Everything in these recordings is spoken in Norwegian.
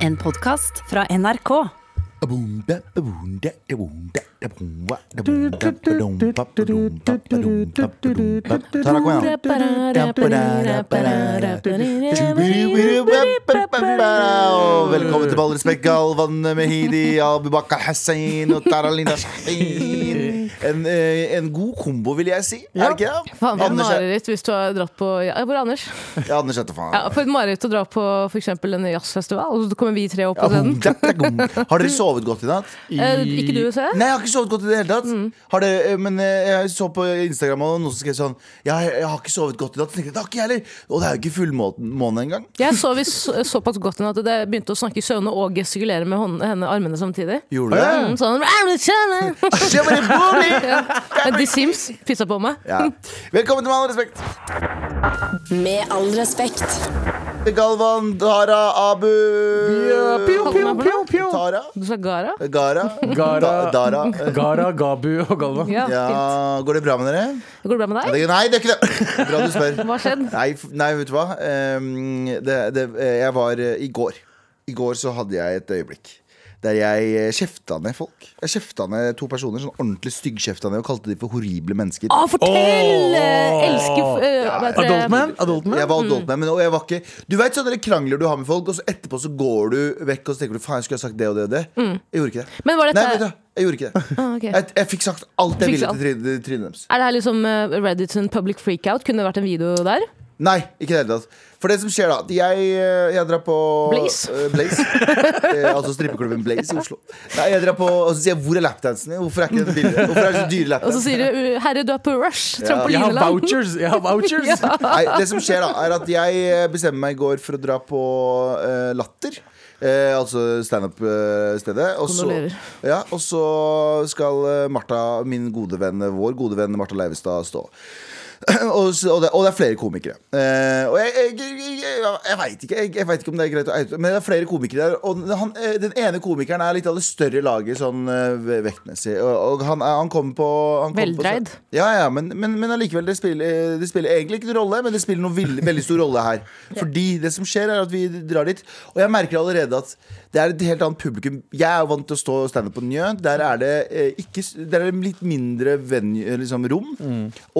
En podkast fra NRK. Tara, kom igjen. Og velkommen til Ball respekt Galvan Mehidi, Abubakar Hussein og Taralina Shahin. En, eh, en god kombo, vil jeg si. Er det ikke det? Faen, for et Anders, er- mareritt hvis du har dratt på ja, Hvor er Anders? ja, Anders Etterfaen. Ja, for et mareritt å dra på for eksempel en jazzfestival, og så kommer vi tre opp på scenen. Har dere sovet godt i natt? Eh, ikke du, se? Nei, jeg har ikke sovet godt i det hele tatt. Mm. Har det, eh, men eh, jeg så på Instagram, og noen som skrev sånn ja, jeg, jeg har ikke sovet godt i natt. Jeg tenkte, det har ikke jeg heller. Og det er jo ikke fullmåne engang. Jeg sov i så, såpass godt henne at jeg begynte å snakke i søvne og gestikulere med hånd, henne, armene samtidig. Gjorde du det? Mm, Sånn Men Skjer bare i bolig! De Sims pissa på meg. Ja. Velkommen til Med all respekt. Med all respekt. Galvan, Tara, Abu Hva kaller man for det? Tara, Du sa Gara? Gara, Gara. Da, Dara. Eh, Gara, Gabu og Galva. Ja, fint. Ja, går det bra med dere? Går det bra med Ja, deg? det- Nei, det er ikke det. Bra du spør. Hva har skjedd? Nei, f- nei, vet du hva? Ehm, det, det, jeg var eh, I går I går så hadde jeg et øyeblikk der jeg eh, kjefta ned folk. Jeg kjefta ned to personer, sånn ordentlig styggkjefta ned og kalte de for horrible mennesker. Å, fortell! Åh! Eh, Elsker f- eh, hva heter det? Adult man? Adult man? Jeg mm. var adult med, men og jeg var ikke Du vet sånne krangler du har med folk, og så etterpå så går du vekk og så tenker du faen, jeg skulle ha sagt det og det og det. Mm. Jeg gjorde ikke det. Men var dette- Nei, vet du, hva? jeg gjorde ikke det. Ah, ok. Jeg, jeg fikk sagt alt jeg Fikk ville alt. til trynet- trynet deres. Er det her liksom eh, Reddit sin public freakout? Kunne det vært en video der? Nei, ikke i det hele tatt. For det som skjer da at Jeg, eh, jeg drar på Blaze. eh, Blaze. Eh, altså strippeklubben Blaze i Oslo. Nei, jeg drar på Og så sier jeg hvor er lapdansene? Hvorfor er ikke den billig? Hvorfor er det så dyre Og lapdans? så sier du 'herre, du er på rush'. Jeg har Trampolineland. vouchers! Jeg har vouchers Nei, det som skjer da, er at jeg eh, bestemmer meg i går for å dra på eh, Latter. Eh, altså standup-stedet. og så- Kondolerer. ja, og så skal eh, Martha, min gode venn, vår gode venn Martha Leivestad, stå. og, så- og, det, og det er flere komikere. Eh, og jeg, jeg, jeg, jeg, jeg veit ikke, jeg, jeg vet ikke om det er greit å oute, men det er flere komikere der. Og han, eh, den ene komikeren er litt av det større laget sånn eh, vektmessig. Og, og han, er- han kommer på han kommer på- Veldreid. Ja, ja, men, men, men allikevel, det spiller, eh, det spiller egentlig ikke noen rolle, men det spiller noen vill- veldig stor rolle her. Fordi det som skjer, er at vi drar dit, og jeg merker allerede at det er et helt annet publikum. Jeg er jo vant til å stå standup på Njø. Der er det eh, ikke, s- der er det litt mindre venue, liksom, rom.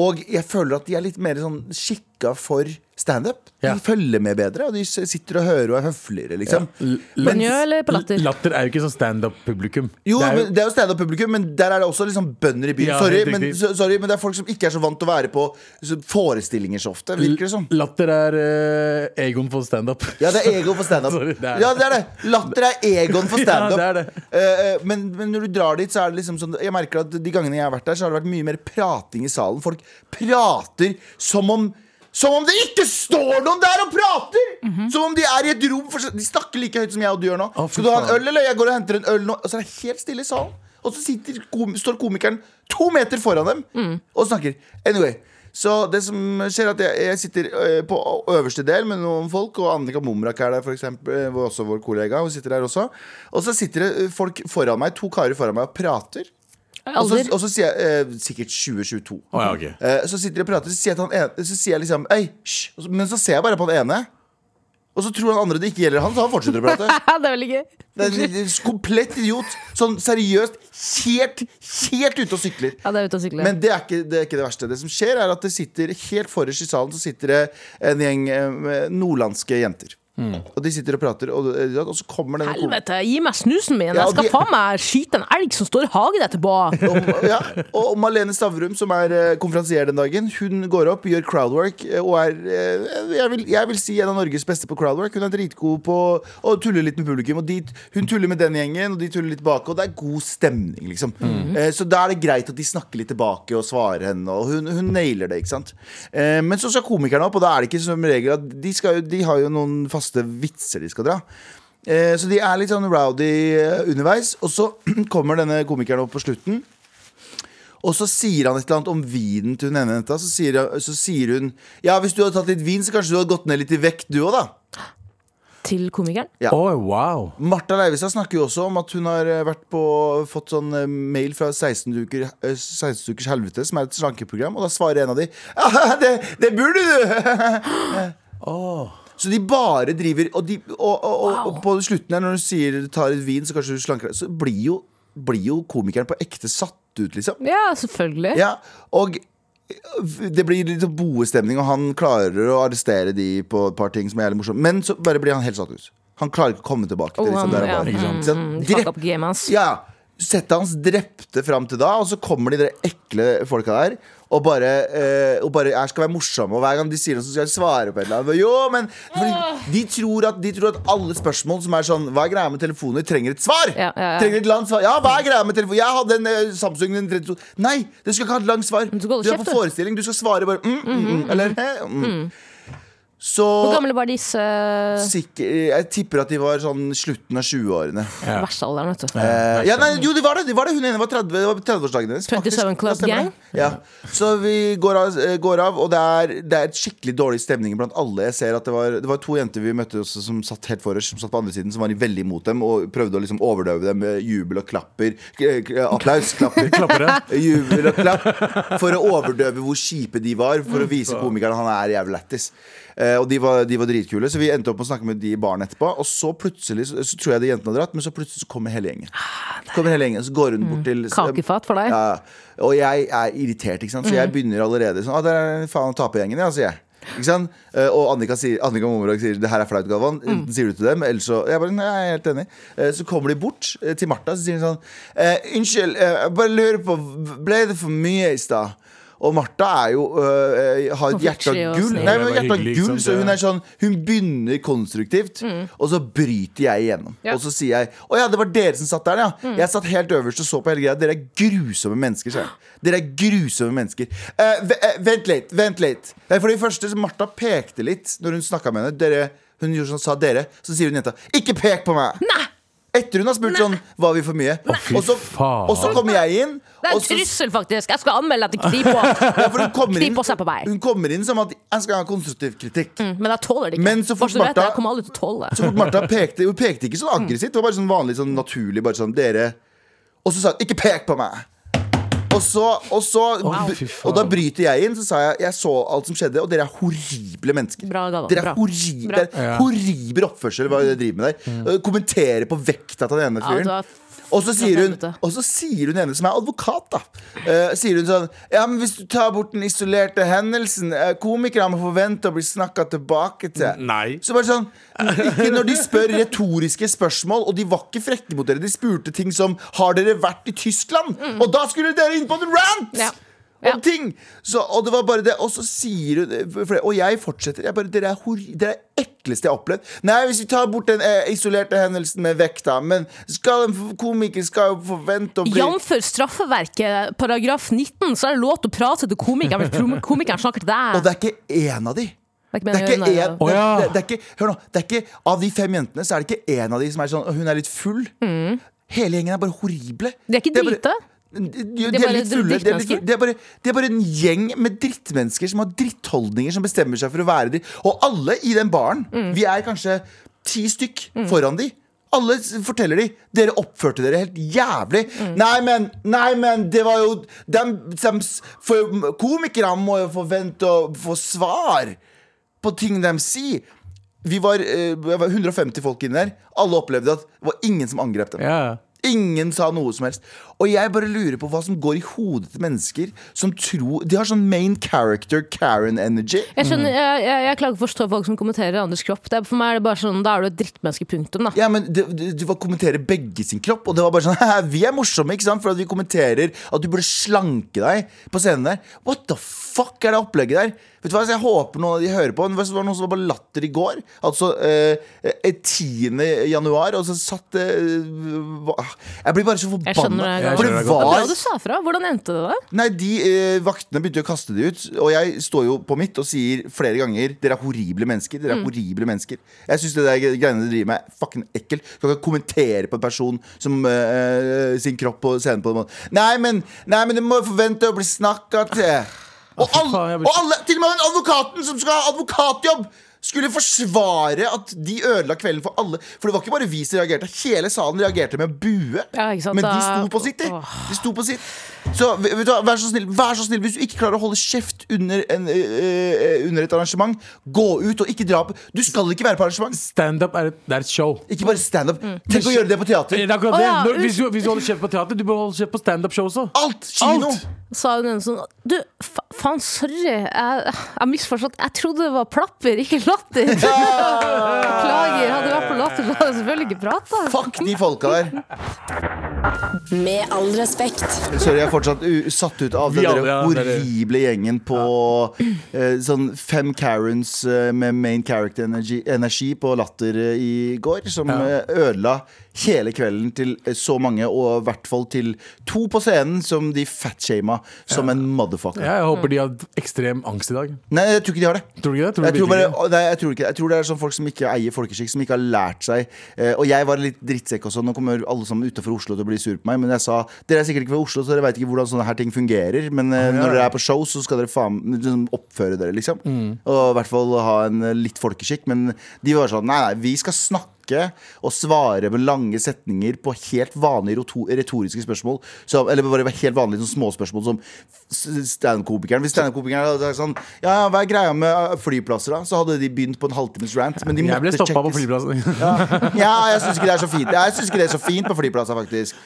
Og jeg føler at de er litt mer sånn skikka for standup. De Ja. følger med bedre, og de s- sitter og hører og er høfligere, liksom. På Njø eller på Latter? Latter er jo ikke sånn standup-publikum. Jo, Det er men det er jo standup-publikum, men der er det også liksom bønder i byen. Ja, sorry, helt men, riktig. so- sorry, men det er folk som ikke er så vant til å være på så- forestillinger så ofte. Virker det som. Latter er eh, Egon for standup. Ja, det er ego for standup. Sorry, det er det. Ja, det er det. Latter er egoen for standup. Ja, det er det. Eh, eh, men, men når du drar dit, så er det liksom sånn Jeg merker at de gangene jeg har vært der, så har det vært mye mer prating i salen. Folk prater som om som om det ikke står noen der og prater! Som om de er i et rom for, De snakker like høyt som jeg og du gjør nå. Mhm. Å, fy Skal du ha en faen. øl, eller? Jeg går og henter en øl nå. Og så er det helt stille i salen. Og så sitter, kom, står komikeren to meter foran dem og snakker. Anyway. Så det som skjer er at jeg, jeg sitter eh, på øverste del med noen folk, og Annika Momrak er der, for eksempel, eh, hvor også vår kollega. Hun sitter der også. Og så sitter det eh, folk foran meg, to karer foran meg og prater. Og så, Alder? og så sier jeg eh, sikkert 2022. Å, ja, ok. Eh, så sitter de og prater, så sier jeg, til han ene, så sier jeg liksom Ei, hysj. Og så- Men så ser jeg bare på han ene. Og så tror han andre det ikke gjelder han, så han fortsetter å prate. Ja, det er veldig gøy. Det er en komplett idiot. Sånn seriøst helt, helt ute og sykler. Ja, det er ute å sykle. Men det er, ikke, det er ikke det verste. Det som skjer, er at det sitter helt forrest i salen Så sitter det en gjeng eh, nordlandske jenter. Og de sitter og prater, og, og så kommer denne kom- Helvete, gi meg snusen min! Ja, Jeg skal de- faen meg skyte en elg som står i hagen etterpå! og, ja, og Malene Stavrum, som er eh, konferansier den dagen, hun går opp, gjør crowdwork eh, og er eh, jeg vil, jeg vil si en av Norges beste på crowdwork. Hun er dritgod på å tulle litt med publikum. Og de, hun tuller med den gjengen, og de tuller litt tilbake, og det er god stemning, liksom. Eh, Så da er det greit at de snakker litt tilbake og svarer henne, og hun, hun nailer det, ikke sant. Eh, Men så skal komikerne opp, og da er det ikke som regel at de, skal, jo- de har jo noen faste vitser de skal dra. Eh, Så de er litt sånn rowdy eh, underveis, og så kommer denne komikeren opp på slutten. Og så sier han et eller annet om vinen til hun ene jenta. Så sier, så sier hun Ja, hvis du hadde tatt litt vin, så kanskje du hadde gått ned litt i vekt, du òg, da. Til komikeren. Ja. Å, wow. Martha Leivestad snakker jo også om at hun har eh, vært på, fått sånn eh, mail fra 16 uker, eh, 16 ukers helvete, som er et «Ah, slankeprogram, og da svarer en av de Ja, det, det burde du! Å. Så de bare driver Og, de, og, og, og, og på slutten her, når du sier du tar et vin, så kanskje du slanker deg, så blir jo, blir jo komikeren på ekte satt ut, liksom. Ja, selvfølgelig. Ja, og det blir litt sånn boestemning, og han klarer å arrestere de på et par ting som er jævlig morsomt. Men så bare blir han helt satt ut. Han klarer ikke å komme tilbake til Oh, liksom, han, der ja. han var. Ikke sant? Ikke sant? Mm, de Direkt- fucka opp gamet hans. ja, ja. Settet hans drepte fram til da, og så kommer de der ekle folka der. Og bare, eh, og bare jeg skal være morsomme, og hver gang de sier noe, så skal jeg svare på et eller annet. Jo, men fordi de, tror at, de tror at alle spørsmål som er sånn Hva er greia med telefoner? Trenger et svar! Ja, ja, ja. Trenger et langt svar Ja, hva er greia med telefon? Jeg hadde en eh, Samsung den 32 Nei, du skal ikke ha et langt svar. du skal holde Du er kjeft, på du. Mm-hmm, forestilling, du skal svare bare mm, mm, mm, Eller eh, mm. Så Hvor gamle var disse eh, sikker, Jeg tipper at de var sånn slutten av 20-årene. Ja. verste alderen, vet du? Eh, ja, nei, jo, de var det. De var det. Hun ene var 30 det var 30-årsdagen hennes. 27 faktisk. Club Ja, stemmer det. Ja. Så vi går av, eh, går av og det er, det er et skikkelig dårlig stemning blant alle. Jeg ser at det var, det var to jenter vi møtte også, som satt helt for oss, som satt på andre siden, som var veldig imot dem og prøvde å liksom overdøve dem med jubel og klapper. K- k- Applaus, klapper. Klappere. Jubel og klapp for å overdøve hvor kjipe de var, for å vise komikeren han er jævlig lættis. Eh, og de var, de var dritkule, så vi endte opp med å snakke med de i baren etterpå. Og så plutselig så, så tror jeg de jentene har dratt, men så plutselig så kommer hele gjengen. Kommer hele gjengen, Så går hun bort til Mm. Kakefat for deg? Mm. Ja, og jeg er irritert, ikke sant? så jeg begynner allerede sånn Å, der er faen tapergjengen, ja, sier jeg. Ikke sant? Eh, Og Annika, sier, Annika Momorag sier det her er flaut, Galvan. Mm. Enten sier du til dem, eller så Jeg bare, nei, jeg er helt enig. Eh, Så kommer de bort eh, til Martha så sier hun sånn «Eh, Unnskyld, eh, jeg bare lurer på, ble det for mye i stad? Og Martha er jo, øh, har et hjerte av Konfliktfri og gull. snill. Nei, men Det var hjerte av hyggelig, ikke gull, sant? så hun Ja. er sånn Hun begynner konstruktivt, og så bryter jeg igjennom. Mm. Ja. Mm. Og så sier jeg Å ja, det var dere som satt der, ja. Jeg satt helt øverst og så på hele greia. Dere er grusomme mennesker, sier jeg. Dere er grusomme mennesker. Eh, ve- eh, vent litt, vent litt. Nei, For det første, så Martha pekte litt når hun snakka med henne. Dere, hun gjorde sånn, sa dere. Så sier hun jenta Ikke pek på meg! Nei! Etter hun har spurt sånn Var vi for mye? fy og, så, faen. og så kommer jeg inn. Det er og en så- trussel, faktisk! Jeg skal anmelde deg til Kripos! Ja, for hun kommer, inn, Knip oss her på vei. hun kommer inn som at jeg skal ha konstruktiv kritikk. Mm, Men jeg tåler det ikke. Men så fort Bare du vet, Martha- jeg kommer aldri til å tåle Så fort Martha pekte Hun pekte ikke sånn aggressivt. Det var bare sånn vanlig, sånn naturlig. Bare sånn, dere Og så sa hun 'ikke pek på meg'. Og så, og så fy faen. Og da bryter jeg inn. Så sa jeg 'jeg så alt som skjedde', og dere er horrible mennesker. Bra, Galvan. dere er Bra. horri- Bra. det er horribel oppførsel, hva dere driver med der. Mm. Eh, Kommentere på vekta til den ene Ja, fyren. du er Og så sier hun helvete. Og så sier hun ene som er advokat da eh, Sier hun sånn Ja, men hvis du tar bort den isolerte hendelsen eh, Komikere må forvente å bli snakket tilbake til Nei. Så bare sånn Ikke når de spør retoriske spørsmål Og de var ikke frekke mot dere De spurte ting som Har dere vært i Tyskland? Og da skulle dere inn på en rant Mm. Ja. Ja. Om ting så, Og det var bare det Og så sier hun for det- Og jeg fortsetter jeg bare, Dere er hori- dere er ekleste jeg har opplevd Nei, hvis vi tar bort den eh, isolerte hendelsen med vekta Men skal en f- komiker skal jo forvente å bli Jf. straffeverket paragraf 19, så er det lov til å prate til komikeren hvis prom- komikeren snakker til Og det er deg. ikke en av de Det er det er meningen, ikke nei, en, ja. det, Å, ja. det, det er ikke, hør nå, det er ikke, av de fem jentene så er det ikke en av de som er sånn «Å, Hun er litt full Hele gjengen er bare horrible Mm. bare- De, de, De er ikke drita. De er er bare litt fulle. De er, litt drittmennesker. fulle. Det er, bare, det er bare en gjeng med drittmennesker som har drittholdninger, som bestemmer seg for å være dritt. Og alle i den baren, Mm. vi er kanskje ti stykk foran de. Alle s- forteller de Dere oppførte dere helt jævlig. Mm. Nei, men nei, men det var jo dem, dem, s- for Komikere må jo forvente å få svar på ting de sier. Vi var, eh, det var 150 folk inne der. Alle opplevde at det var ingen som angrep dem. Ja. Ingen sa noe som helst. Og jeg bare lurer på hva som går i hodet til mennesker som tror De har sånn main character Karen-energy. Jeg, skjønner, jeg, jeg, jeg klarer ikke å forstå folk som kommenterer andres kropp. Det er, for meg er det bare sånn, Da er du et drittmenneske, punktum. da Ja, men det- det- Du var kommentere begge sin kropp, og det var bare sånn «Haha, Vi er morsomme, ikke sant? For at vi kommenterer at du burde slanke deg på scenen der. What the fuck er det opplegget der? Vet du hva, så Jeg håper noen av de hører på. Men Det var noen som var på latter i går. Altså eh, eh, 10. januar, og så satt eh, hva- Jeg blir bare så Jeg skjønner forbanna. det. For Jeg skjønner det det godt. var Bra du sa fra. Hvordan endte det? da? Nei, de eh, vaktene begynte jo å kaste de ut. Og jeg står jo på mitt og sier flere ganger dere er horrible mennesker. Mm. Dere er horrible mennesker Jeg syns det der greiene dere driver med, er fucking ekkelt. Du kan ikke kommentere på en person som eh, sin kropp på scenen på den måten. Nei, men, nei, men du må forvente å bli snakka til. Og Ah, fy alle, faen, jeg blir- og alle, til og med den advokaten som skal ha advokatjobb! skulle forsvare at de ødela kvelden for alle. For det var ikke bare vi som reagerte. Hele salen reagerte med å bue. Ja, ikke sant, Men de da- sto på sitt, de. Åh. de sto på sitt. Så vet du, hva, vær, så snill, vær så snill, hvis du ikke klarer å holde kjeft under, en, øh, øh, under et arrangement, gå ut og ikke dra på Du skal ikke være på arrangement. Standup er, et- det er et show. Ikke bare standup. Mm. Tenk å gjøre det på Det teater. er akkurat Å, det. ja, Når, unnskyld. hvis, du, hvis du holder kjeft på teater, du bør holde kjeft på standup-show også. Alt! Kino! Alt. sa hun en sånn Du, fa faen, sorry. Jeg, jeg misforstått. Jeg trodde det var plapper, ikke latter. Beklager. Hadde det vært på latter, så hadde jeg selvfølgelig ikke prata. Fuck de folka der. Med all respekt. Sorry, jeg er fortsatt u satt ut av Vi den alle, der ja, horrible gjengen på eh, sånn fem Karens eh, med main character energy, energi på latter eh, i går, som eh, ødela hele kvelden til eh, så mange, og i hvert fall til to på scenen, som de fatshama som en motherfucker. Ja, jeg håper de har ekstrem angst i dag. Nei, jeg tror ikke de har det. Tror du ikke det? Tror du Jeg tror, virkelig bare, det? å, nei, jeg tror ikke det. Jeg tror det er sånn folk som ikke eier folkeskikk, som ikke har lært seg eh, Og jeg var en litt drittsekk også. Nå kommer alle sammen utenfor Oslo til å bli sur på meg. Men jeg sa dere er sikkert ikke fra Oslo, så dere veit ikke hvordan sånne her ting fungerer. Men eh, når dere er på show, så skal dere faen liksom, oppføre dere, liksom. Mm. Og i hvert fall ha en eh, litt folkeskikk. Men de var sånn Nei, nei, vi skal snakke. Og svare med lange setninger på helt vanlige roto- retoriske spørsmål. Som, eller bare helt vanlige sånn småspørsmål som s- standup-komikeren. Hvis standup-komikeren hadde sagt sånn Ja, ja, hva er greia med eh, flyplasser, da? Så hadde de begynt på en halvtimes rant. Men de Jeg ble måtte stoppa på sjekkes. flyplassen. Ja, jeg syns ikke det er så fint. Jeg synes ikke det er så fint på flyplasser, faktisk.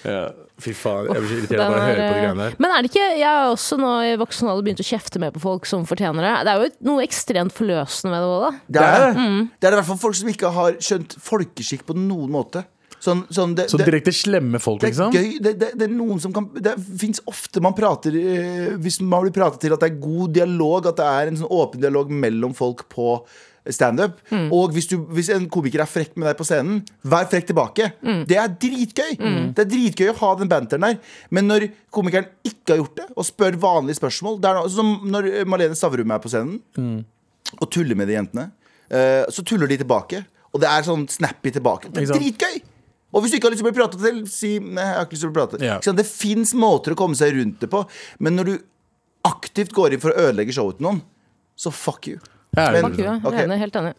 Fy faen, jeg blir så Den irritert bare å høre på de greiene er- eh, der. Men er det ikke Jeg har også nå i voksen alder begynt å kjefte mer på folk som fortjener det. Det er jo noe ekstremt forløsende med det òg, da. Det er det. Det er i hvert fall folk som ikke har skjønt folkeskikk på noen måte. Sånn, sånn det, Så det- direkte slemme folk, Det er liksom. gøy. Det, det, det er noen som kan Det fins ofte man prater eh, Hvis man blir pratet til at det er god dialog, at det er en sånn åpen dialog mellom folk på standup. Mm. Og hvis, du, hvis en komiker er frekk med deg på scenen, vær frekk tilbake. Mm. Det er dritgøy! Det er dritgøy å ha den banteren der. Men når komikeren ikke har gjort det, og spør vanlige spørsmål det er noe, Som når eh, Malene Stavrum er på scenen Mm. og tuller med de jentene, eh, så tuller de tilbake. Og det er sånn snappy tilbake. Det Ikke er sant? dritgøy! Og hvis du ikke har lyst til å bli pratet til, si nei, jeg har ikke lyst til å bli pratet. Ja. Ikke sant? Det fins måter å komme seg rundt det på, men når du aktivt går inn for å ødelegge showet til noen, så fuck you. Ja, Men- fuck Ikke det? Ok. Jeg er enig, helt enig.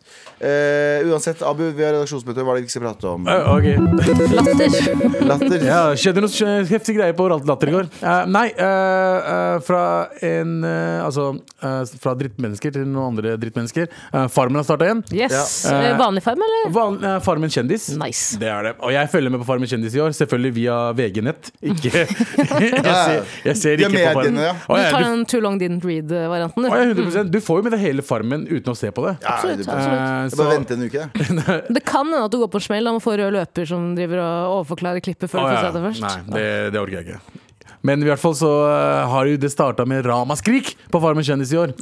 Eh, uansett, Abu, vi har redaksjonsmøte. Hva er det vi skal prate om? Eh, ok. Latter. Latter. Ja, skjedde noe skje- heftig greie på Overalt latter i går. Eh, nei, eh, eh, fra en eh, Altså, eh, fra drittmennesker til noen andre drittmennesker. Eh, farmen har starta igjen. Yes. Ja. Eh, Vanlig farm, eller? Van, eh, farmen kjendis. Nice. Det er det. Og jeg følger med på Farmen kjendis i år, selvfølgelig via VG-nett. Ikke Jeg ser, jeg ser Via ikke på Farmen. mediene, ja. Å, Du ja, tar du, den too long didn't read-varianten, du. å, ja, 100 Du får jo med deg hele Farmen uten å se på det. Ja, det Absolutt. er bra. absolutt. Eh, Jeg så- Bare vente en uke. da. Det kan hende at du går på en smell og får rød løper som driver og overforklarer klippet før Å, du får ja. se det først. Nei, det, det orker jeg ikke. Men i hvert fall så eh, har jo det starta med ramaskrik på Farmen kjendis i år.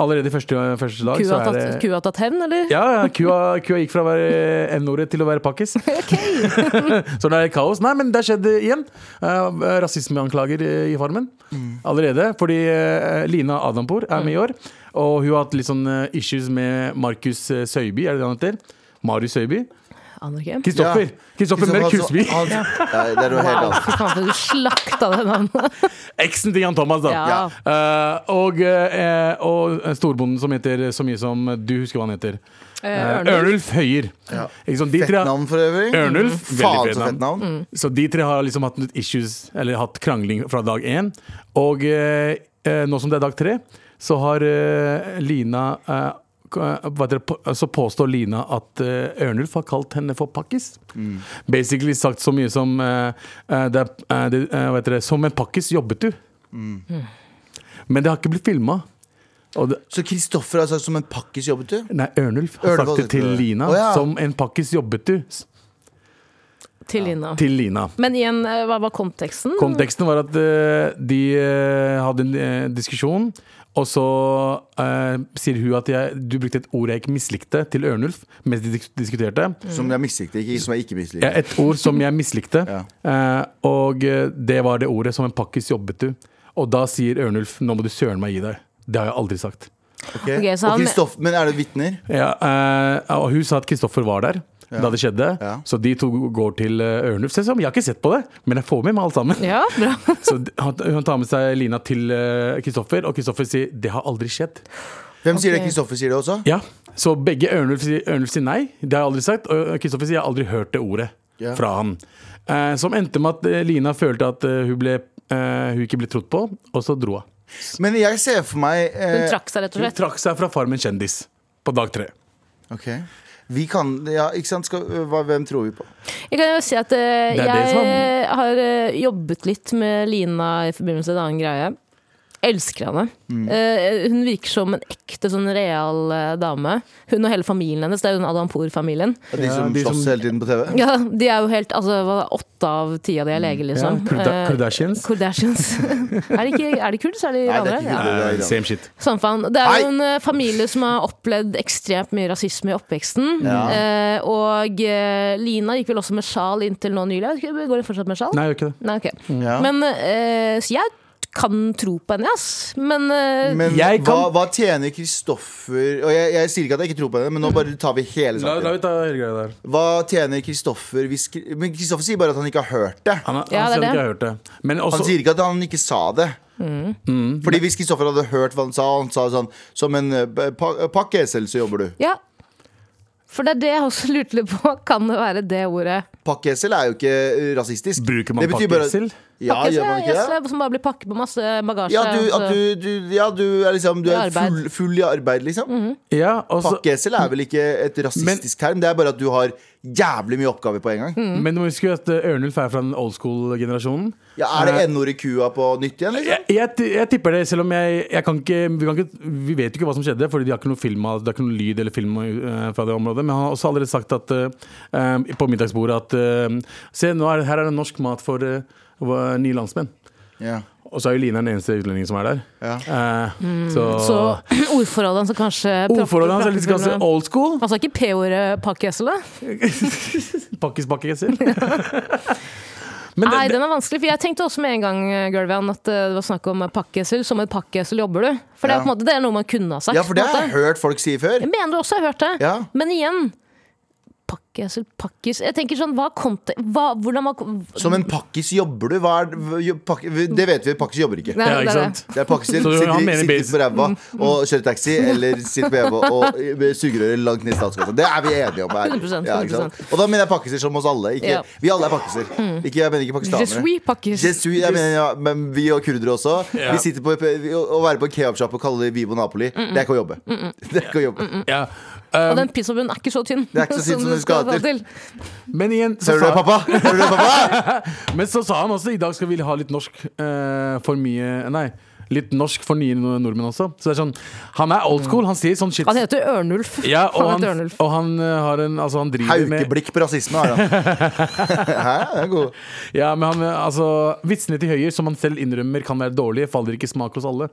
Allerede i første, første dag. Kua så har er tatt, det- kua har tatt hevn, eller? Ja, ja kua, kua gikk fra å være eh, N-ordet til å være pakkis. så det er kaos. Nei, men det har skjedd igjen. Eh, rasismeanklager eh, i Farmen allerede. Fordi eh, Lina Adampour er med i år. Og hun har hatt litt sånn eh, issues med Markus eh, Søiby, er det det han heter? Marius Søiby? Aner ikke. Kristoffer! Kristoffer Mørk Kristoffer, Husby. han- han- Nei, det er noe helt Wow, annet. fy faen, for du slakta det navnet. Eksen til Jan Thomas, da. Ja. Eh, og, eh, og storbonden som heter så mye som Du husker hva han heter. Eh, Ørnulf Høyer. Ikke sant? De Fett tre- navn for øvrig. Mm. Ørnulf, Faen veldig så fett navn. Mm. Så de tre har liksom hatt litt issues, eller hatt krangling fra dag én. Og eh, eh, nå som det er dag tre, så har eh, Lina eh, k- eh, hva heter det, på- så påstår Lina at eh, Ørnulf har kalt henne for pakkis. Mm. Basically sagt så mye som eh, eh, det, er- eh, det, eh, hva heter det, Som en pakkis jobbet du. Mm. Mm. Men det har ikke blitt filma. Og det, Så Kristoffer har sagt som en pakkis jobbet du? nei, Ørnulf har Ørnulf har sagt det sagt til det. Lina. Å, ja. Som en pakkis jobbet du. s- Til Lina. Til Lina. Men igjen, eh, hva var konteksten? Konteksten var at eh, de eh, hadde en eh, diskusjon, og så eh, sier hun at jeg, du brukte et ord jeg ikke mislikte til Ørnulf mens de dis- diskuterte. Mm. Som jeg mislikte, ikke som jeg ikke mislikte. Ja, et ord som jeg mislikte, eh, og eh, det var det ordet som en pakkis jobbet du. Og da sier Ørnulf nå må du søren meg gi deg. Det har jeg aldri sagt. Ok. Ok, så og han- Kristoffer, men er det vitner? Ja, eh, og hun sa at Kristoffer var der da det skjedde, Ja. så de to går til eh, Ørnulf. Se som, jeg har ikke sett på det, men jeg får med meg alt sammen. Ja, bra. Så han, han tar med seg Lina til eh, Kristoffer, og Kristoffer sier 'det har aldri skjedd'. Hvem sier det? Ok. Kristoffer sier det også? Ja, Så begge Ørnulf sier, Ørnulf sier nei. Det har jeg aldri sagt. Og Kristoffer sier jeg har aldri hørt det ordet Ja. fra han. Eh, som endte med at eh, Lina følte at eh, hun, ble, eh, hun ikke ble trodd på, og så dro hun. Men jeg ser for meg Hun eh, trakk seg, rett og Hun slett. trakk seg fra Farmen kjendis på dag tre. ok. Vi kan Ja, ikke sant? Skal, eh, hva, hvem tror vi på? Jeg kan jo si at eh, Det er det jeg som- eh, har eh, jobbet litt med Lina i forbindelse med en annen greie. Elsker henne. Mm. Eh, hun virker som en ekte sånn real eh, dame. Hun og hele familien hennes. Det er jo den Adampour-familien. De Ja, som de slåss som- hele tiden på TV? Ja, de er jo helt altså, hva, Åtte av ti av de er leger, liksom. Mm. Ja, Sånn. Kurda- Eh, Kardashians. Kardashians. er, det ikke, er det kult, så er de Nei, det er iranere. ikke Ja. kult. Eh, same shit. Samme faen. Det er jo Hei! en eh, familie som har opplevd ekstremt mye rasisme i oppveksten. Ja. Eh, og eh, Lina gikk vel også med sjal inntil nå nylig. Jeg vet ikke, Går hun fortsatt med sjal? Nei, gjør ikke det. Nei, ok. Ja. Men eh, så jeg kan tro på henne, ass. Men, eh, Men Jeg hva, kan- hva tjener Kristoffer Og jeg, jeg sier ikke at jeg ikke tror på det, men nå bare tar vi hele La, la saken. vi ta hele greia der. Hva tjener Kristoffer hvis Kri- Men Kristoffer sier bare at han ikke har hørt det. Han, han Ja, det er sier det. han ikke har hørt det. Men også, Han sier ikke at han ikke sa det. Mm. Mm. Fordi Hvis Kristoffer hadde hørt hva han sa, han sa sånn Som en eh, pa pakkesel, så jobber du. ja. For det er det jeg også lurte litt på. Kan det være det ordet? Pakkesel er jo ikke eh, rasistisk. Bruker man Det betyr bare- pakkesel? Ja, Pakkes, gjør man ikke det? yes, Som bare blir pakket med masse bagasje. Ja, du, at altså. du, du, ja, du er liksom Du I er arbeid. Mhm. full, full i arbeid, liksom. ja, også, Pakkesel er vel ikke et rasistisk term, det er bare at du har jævlig mye oppgaver på en gang. Mhm. Men du må huske at eh, Ørnulf er fra den old school-generasjonen. Eh, Ja, er det n-ord i kua på nytt igjen, liksom? Jeg, jeg, ti- jeg tipper det, selv om jeg, jeg kan ikke vi, kan ikke vi vet jo ikke hva som skjedde, Fordi de har ikke noe film av- Det er ikke noe lyd eller film eh, fra det området. Men han har også allerede sagt at, eh, eh, på middagsbordet at eh, Se, nå er, det- her er det norsk mat for eh, hva- nye landsmenn. Ja. Og så er jo Lina den eneste utlendingen som er der. Ja. Eh, så Mm. Så ordforrådene som kanskje Ordforholdet hans er litt ganske praktefuglene- old school. Altså ikke P-ordet pakkesel, da? Pakkis, pakkis. Men Nei, det, den er vanskelig. For jeg tenkte også med en gang eh, Gulvian, at eh, det var snakk om pakkesel. Som et pakkesel jobber du. For det Ja. er på en måte det er noe man kunne ha sagt. ja, for det på en har jeg måte. hørt folk si før. Jeg mener du også har hørt det. Ja. Men igjen Pakkesel, pakkis Jeg tenker sånn, hva kom til hva, Hvordan var Som en pakkis jobber du. Hva er, det- jo- pakke, det vet vi, pakkis jobber ikke. Nei, ja, det ikke er det. sant? Det er pakkis Så sitter, han mener sitter basic- på ræva og kjører taxi, eller sitter på ræva og eh, med sugerøret langt ned i statskassa. Det er vi enige om her. 100%, Ja, ikke sant? og da mener jeg pakkiser som oss alle. Ikke, Ja. Mm. Vi alle er pakkiser. Ikke, jeg mener ikke Je pakistanere. suis pakkis. Je suis, jeg mener, ja, men vi og kurdere også. Ja. Vi sitter på vi- Å være på en kebabsjappe og kalle det Vivo Napoli, det er ikke å jobbe. Det er ikke å jobbe. ja. Og Eh, den pizzabunnen er ikke så tynn. er ikke så tynn som du den skal til. men igjen så Hører du sa- det, pappa? Hører du det, pappa? Men så sa han også i dag skal vi ha litt norsk eh, for mye Nei, litt norsk for nye nord- nordmenn også. Så det er sånn Han er old school. Han sier sånn shit. Han heter Ørnulf. ja, og han, heter Ørnulf. og han eh, har en Altså, han driver med Haukeblikk på rasisme har han. Hæ? Det er god. Ja, men han eh, Altså, vitsene til Høyer, som han selv innrømmer kan være dårlige, faller ikke i smak hos alle.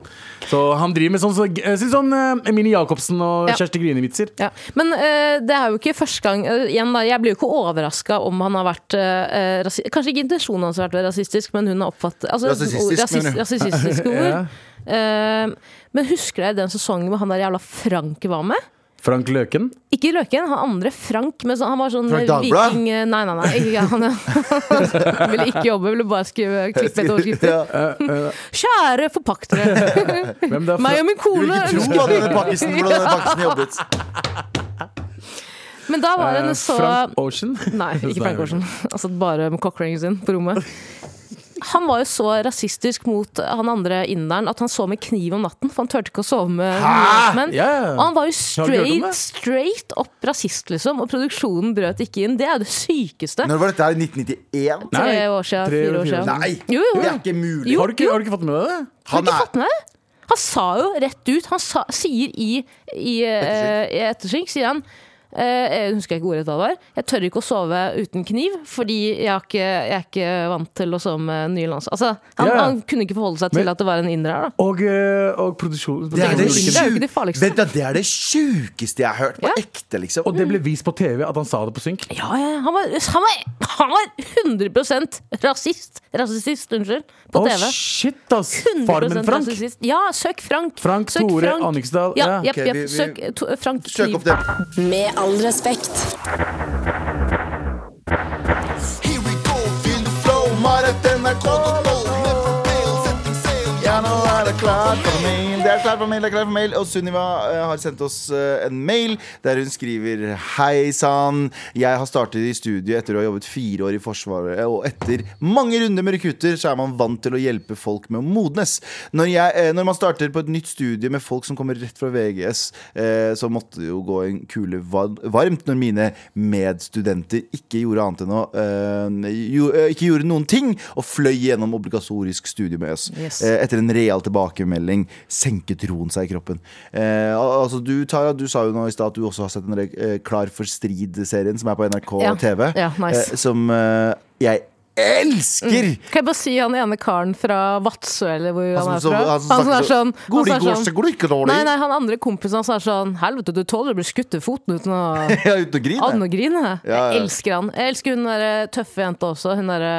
Så han driver med sånn så, eh, si sånn eh, Emilie Jacobsen og Ja. Kjersti Grine-vitser. Ja. Men eh, det er jo ikke første gang eh, igjen da, Jeg blir jo ikke overraska om han har vært eh, rasi Kanskje ikke intensjonen hans har vært rasistisk, men hun har oppfattet altså, Rasistisk, ord- rasis, mener du? Rasistiske ord. Ja. Eh, men husker dere den sesongen hvor han der jævla Frank var med? Frank Løken. Ikke Løken, han andre Frank, men så, han var sånn Frank Dagblad? viking eh, Nei, nei, nei. Ikke, han, han ville ikke jobbe, ville bare skrive klippe et overskrift. Ja. Kjære forpaktere, Hvem det er? meg og min Du vil kone ikke tro hva denne pakkisen, hvordan denne pakkisen jobbet. Men da var Eh, hun så Frank Ocean? Nei, ikke Frank Nei, Ocean. Altså bare med cockringen sin på rommet. Han var jo så rasistisk mot han andre inderen at han sov med kniv om natten. For han turte ikke å sove med nordmenn. Ja, ja. Og han var jo Har du hørt om straight, det? straight opp rasist, liksom. Og produksjonen brøt ikke inn. Det er jo det sykeste. Når var dette her? 1991? Nei, Tre år siden, tre fire år siden. Nei! Jo, jo. Det er ikke mulig. Jo, Har du ikke, har du ikke fått med deg det? Har du Han ikke er- fått med det? Han sa jo rett ut. Han sa, sier i, i, eh, i Ettersving, sier han eh, Jeg husker ikke ordet det var. Jeg tør ikke å sove uten kniv, fordi jeg, har ikke, jeg er ikke vant til å sove med nye lands... Altså, han, Ja, ja. han kunne ikke forholde seg til Men- at det var en inder her, da. Og, eh, og produksjon Det er det, Det er jo ikke det farligste. Vent da, det er det sjukeste jeg har hørt. På Ja. ekte, liksom. Og det ble vist på TV at han sa det på synk. Ja, ja, han var, han var, han var 100 rasist. Rasist, unnskyld. På Å, TV. shit, ass! 100 Farmen Frank. rasist. Ja, søk Frank. Frank søk Tore Anniksdal. Ja, Ja. jepp, Ok, jepp. vi- vi- Søk eh, to, Frank Søk Kniv. opp det. Med all respekt. Here we go, feel the flow, Marit, den er kåt og blå. Med forberedelse, setting sail, ja, nå er det klart for min. Det er klart klar for mail, det er klar for mail. Og Sunniva eh, har sendt oss eh, en mail der hun skriver Hei sann, jeg har startet i studiet etter å ha jobbet fire år i Forsvaret, og etter mange runder med rekrutter, så er man vant til å hjelpe folk med å modnes. Når, jeg, eh, når man starter på et nytt studie med folk som kommer rett fra VGS, eh, så måtte det jo gå en kule va- varmt når mine medstudenter ikke gjorde annet enn å eh, jo, eh, Ikke gjorde noen ting, og fløy gjennom obligatorisk studie med oss. Yes. Eh, etter en real tilbakemelding senket roen seg i kroppen. Eh, al- altså du, Tara, du sa jo nå i stad at du også har sett den eh, Klar for strid-serien som er på NRK Ja. TV. Ja, nice. eh, som eh, jeg elsker! Kan jeg bare si han ene karen fra Vadsø, eller hvor Mm. han, Han er som- fra? han som Han som snakker er så- sånn Går det han som ikke, er sånn- går det ikke dårlig? Nei, nei, han andre kompisen hans er sånn Helvete, du tåler å bli skutt i foten uten å Ja, uten å grine. Anne og grine. Ja, ja. Jeg elsker han. Jeg elsker hun der tøffe jenta også. Hun derre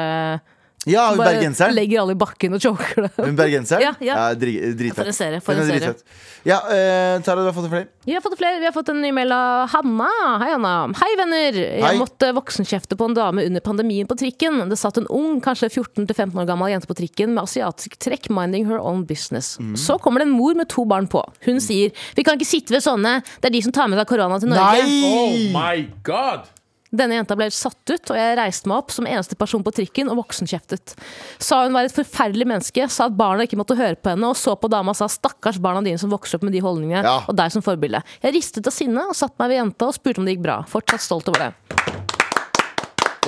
ja, hun Bare bergenseren. legger alle i bakken og choker dem. Hun bergenseren? Ja, ja. dri- dritfett. For en serie, for Hun er en serie. dritfett. Ja, eh, Tara, du har fått en flere? Vi har fått flere. Vi har fått en ny mail av Hanna. Hei, Hanna. Hei, venner. Jeg Hei. måtte voksenkjefte på en dame under pandemien på trikken. Det satt en ung, kanskje 14-15 år gammel jente på trikken med asiatisk trekk, minding her own business. Så kommer det en mor med to barn på. Hun sier 'Vi kan ikke sitte ved sånne. Det er de som tar med seg korona til Norge'. Oh my god! Denne jenta ble helt satt ut, og jeg reiste meg opp som eneste person på trikken og voksenkjeftet. Sa hun var et forferdelig menneske, sa at barna ikke måtte høre på henne, og så på dama og sa stakkars barna dine som vokser opp med de holdningene, Ja. og deg som forbilde. Jeg ristet av sinne og satte meg ved jenta og spurte om det gikk bra. Fortsatt stolt over det.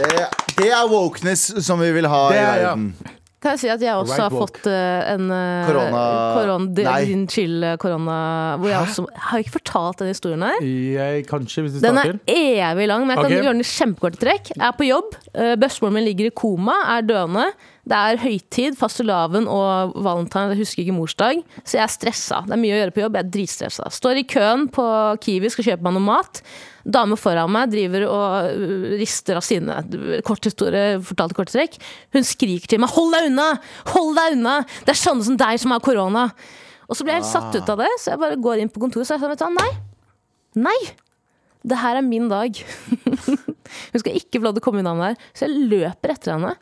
Det, det er wokeness som vi vil ha Det i er, ja. verden. Kan jeg si at jeg også Right har walk. fått eh, en eh, Korona- koron- di- Nei. Din chill eh, korona hvor jeg også, Har jeg ikke fortalt den historien her? Jeg, kanskje, hvis du Den starter. er evig lang, men jeg kan Ok. gjøre den i kjempekorte trekk. Jeg er på jobb, eh, bestemoren min ligger i koma, er døende. Det er høytid, fastelavn og valentine, jeg husker ikke morsdag. Så jeg er stressa. Det er mye å gjøre på jobb, jeg er dritstressa. Står i køen på Kiwi, skal kjøpe meg noe mat. Dame foran meg driver og øh, rister av sine kort historie, fortalt i korte trekk. Hun skriker til meg 'hold deg unna! Hold deg unna! Det er sånne som deg som har korona'. Og så blir jeg helt satt ut av det, så jeg bare går inn på kontoret og sier sånn, vet du hva, nei. Nei! det her er min dag. Hun skal ikke få lov til å komme unna med det her. Så jeg løper etter henne.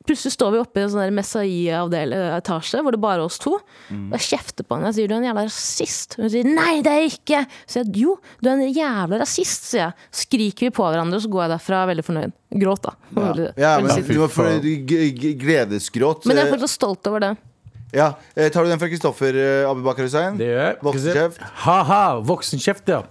Plutselig står vi oppe i en sånn der Messiah-etasje hvor det bare er oss to. Og jeg kjefter på henne. Jeg sier du er en jævla rasist. Hun sier nei, det er jeg ikke. Så sier jeg jo, du er en jævla rasist, sier jeg. Så skriker vi på hverandre, og så går jeg derfra veldig fornøyd. Gråt, da. Veldig- Ja, veldig men sint. du må få g- g- gledesgråt. men jeg er Eh, fortsatt stolt over det. ja. Eh, Tar du den fra Kristoffer eh, Abubakar Hussein? Det gjør jeg. Voksenkjeft. Ha-ha, voksenkjeft, ja.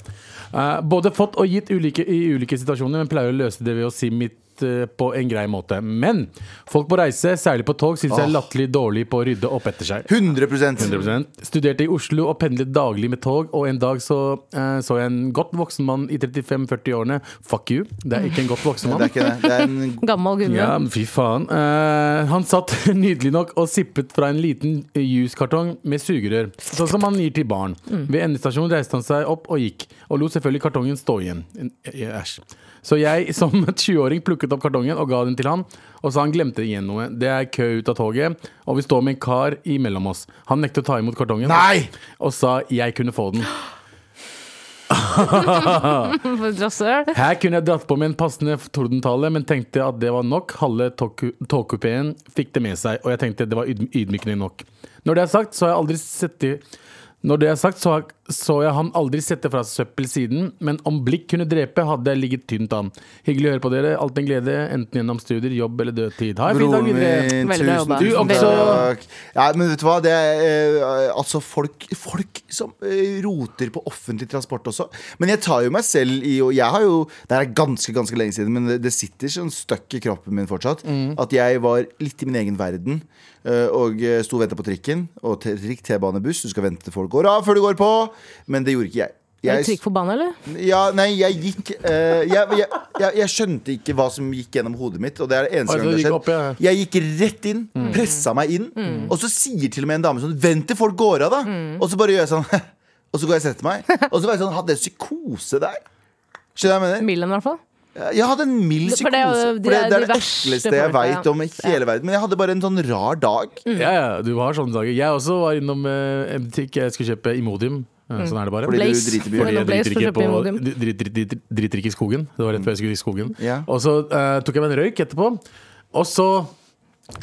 Eh, både fått og gitt ulike, i ulike situasjoner, men pleier å løse det ved å si mitt eh, på en grei måte. Men folk på reise, særlig på tog, synes jeg er Åh. latterlig dårlig på å rydde opp etter seg. 100, 100%. Studerte i Oslo og pendlet daglig med tog, og en dag så eh, så jeg en godt voksen mann i 35-40-årene. Fuck you, det er ikke en godt voksen Det er mann. ikke det. Det er en Gammel gubbe. Ja, men fy faen. Eh, han satt nydelig nok og sippet fra en liten juskartong med sugerør, sånn som man gir til barn. Ved endestasjonen reiste han seg opp og gikk, og lot selvfølgelig kartongen stå igjen. En- eh, Æsj. Så jeg som 20-åring plukket opp kartongen og ga den til han, og sa han glemte igjen noe. Det er kø ut av toget, og vi står med en kar imellom oss. Han nektet å ta imot kartongen Nei! og sa jeg kunne få den. For et rasshøl. Her kunne jeg dratt på med en passende tordentale, men tenkte at det var nok. Halve togku- togkupeen fikk det med seg, og jeg tenkte det var ydm- ydmykende nok. Når det er sagt, så har jeg aldri sett det når det er sagt, så, har, så jeg han aldri sette fra seg søppel siden, men om blikk kunne drepe, hadde jeg ligget tynt an. Hyggelig å høre på dere. Alt en glede, enten gjennom studier, jobb eller dødtid. Ha en fin Broren dag videre. min, Veldig bra tusen, jobba. Du tusen også. takk. Ja, men vet du hva? Det er, eh, altså folk, folk som eh, roter på offentlig transport også. Men jeg tar jo meg selv i og Jeg har jo Det her er ganske ganske lenge siden, men det, det sitter sånn støkk i kroppen min fortsatt. Mm. At jeg var litt i min egen verden. eh, Og eh, sto og venta på trikken. Og t- trikk, T-bane, buss. Du skal vente til folk går av før du går på. Men det gjorde ikke jeg. Er Jeg du trykk forbanna, eller? ja, nei, jeg gikk eh, jeg, jeg, jeg, jeg skjønte ikke hva som gikk gjennom hodet mitt. Og det er det eneste Altså, gang det du har gikk skjedd. opp, Jeg gikk rett inn, pressa meg inn. Og så sier til og med en dame sånn Vent til folk går av, da! Og så bare gjør jeg sånn. Og så går jeg og setter meg. Og så var jeg sånn Hadde jeg psykose der? Skjønner du hva jeg mener? Milan, i hvert fall. Jeg hadde en mild For psykose. det er jo- de For det, er det er de det verste ekleste jeg folka, ja. Mm. veit om i hele verden. Men jeg hadde bare en sånn rar dag. Ja, ja, du har sånne dager. Jeg også var innom eh, en butikk. Jeg skulle kjøpe Imodium. Eh, Sånn er det bare. Mm. Fordi du Blaze. driter mye. Får Fordi noe jeg Blaze driter for å ikke, kjøpe på, Imodium. drit- drit- drit- driter ikke i skogen. Det var rett før jeg skulle i skogen. Ja. Og så eh, tok jeg meg en røyk etterpå. Og så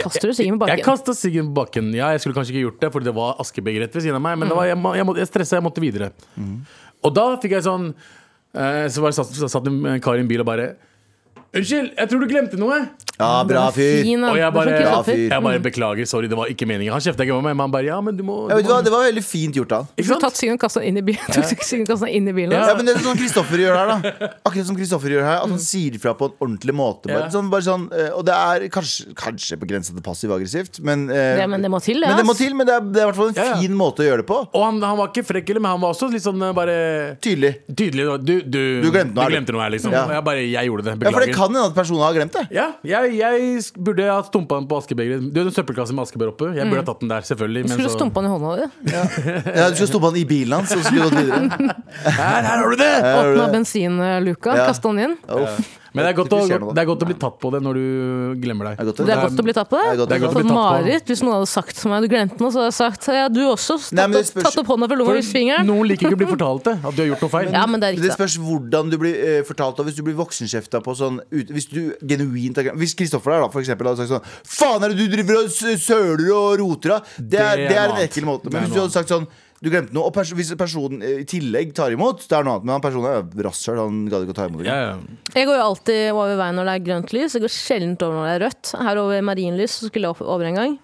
Kaster du siggen på Jeg bakken? kasta siggen på bakken. Ja, jeg skulle kanskje ikke gjort det, fordi det var askebeger rett ved siden av meg. Men det Mm. var, jeg, må- jeg, må- jeg stressa, jeg måtte videre. Og da fikk jeg sånn eh, Så var det satt, satt en kar i en bil og bare Unnskyld, jeg tror du glemte noe. Ja, bra fyr. Fin, da. Og jeg Det er bare, sånn Ja, Kristoffer. fyr. jeg bare beklager, sorry, det var ikke meningen. Han kjefta ikke på meg, men han bare ja, men du må, Ja, du vet du hva? må Det var veldig fint gjort av han. Ikke sant? Tatt siggen og kastet den inn i bilen. Tok siggen og kastet den inn i bilen. altså. Ja. Ja, men det er sånn Kristoffer gjør her, da. Akkurat som Kristoffer gjør her. At han sier fra på en ordentlig måte. Bare, Ja. sånn, bare sånn, eh, og det er kanskje, kanskje på grensa til passiv-aggressivt, men, eh, Det- men det må til, det, Men det, må ass. til, men det er, det er i hvert fall en Ja, ja. fin måte å gjøre det på. Og han, han var ikke frekk, eller, men han var også litt sånn eh, bare Tydelig. tydelig. Du, du, Du glemte noe her, du. her, liksom. Ja. Og jeg bare jeg gjorde det. Ja, For Beklager. det kan hende at personen har glemt det. Ja, jeg, jeg sk- burde ha stumpa den på askebegeret. Du vet den søppelkassen med askebeger oppe? Jeg burde ha tatt den der, selvfølgelig. Du men Mm. skulle så- stumpa den i hånda di. Ja, du skulle stoppe han i bilen hans, og så skulle du gått videre. Her, her har du det! gjorde Åpna det. bensinluka, Ja. kasta den inn. Uff. Men det er, godt å, Ikke skjer noe, da. det er godt å bli tatt på det når du glemmer Det er deg. godt å- Det er godt å bli tatt på Det er godt det. å bli tatt på. For Marit, hvis noen hadde sagt til meg du glemte noe, så hadde jeg sagt ja, du også. Tatt, Nei, men det opp, spørs- tatt opp hånda fra lomma og vist fingeren. Noen liker ikke å bli fortalt det. At du har gjort noe feil. Ja, men det er Men Det riktig. spørs hvordan du blir eh, fortalt Og hvis du blir voksenkjefta på sånn ut, Hvis du genuint har- Hvis Kristoffer der da for eksempel hadde sagt sånn Faen er det du driver og s- søler og roter av Det er, Det er det er en noe annet. ekkel måte Det er Men hvis noe du hadde sagt sånn du glemte noe, og pers hvis personen eh, i tillegg tar imot Det er noe annet, men han personen er jo rasshøl Han gadd ikke å ta imot Ja, det ja. Jeg går jo alltid over veien når det er grønt lys. Jeg går sjelden over når det er rødt. Her over marinlys så skulle jeg opp- over en gang.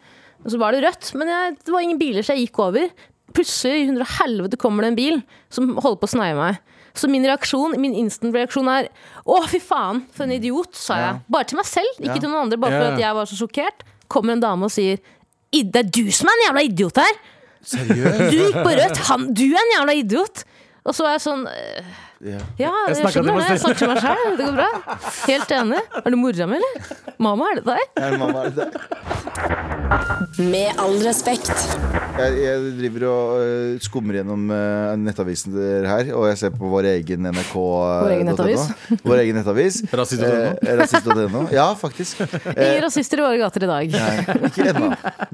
Og så var det rødt, men jeg, det var ingen biler, så jeg gikk over. Plutselig i hundre og helvete kommer det en bil som holder på å sneie meg. Så min reaksjon, min instant reaksjon er å, fy faen, for en idiot, sa jeg. Bare til meg selv, ikke til noen andre, bare Ja, for ja. at jeg var så sjokkert. Kommer en dame og sier «I- det er du som er en jævla idiot her! Du gikk på rødt, han, du er en jævla idiot! Og så er jeg sånn «Øh, Ja, jeg, snakker til skjønner meg det. Jeg selv.» snakker til meg selv. Det går bra. Helt enig. Er du mora mi, eller? Mamma, er det deg? Er det mamma, er det det? Med all respekt. jeg, jeg driver og eh, skummer gjennom eh, nettavisen der her, og jeg ser på vår egen NRK. eh, Vår egen nettavis. Vår egen nettavis. Rasist.no. Eh, rasist.no. Ja, faktisk. Eh, Ingen rasister i våre gater i dag. nei, ikke ennå.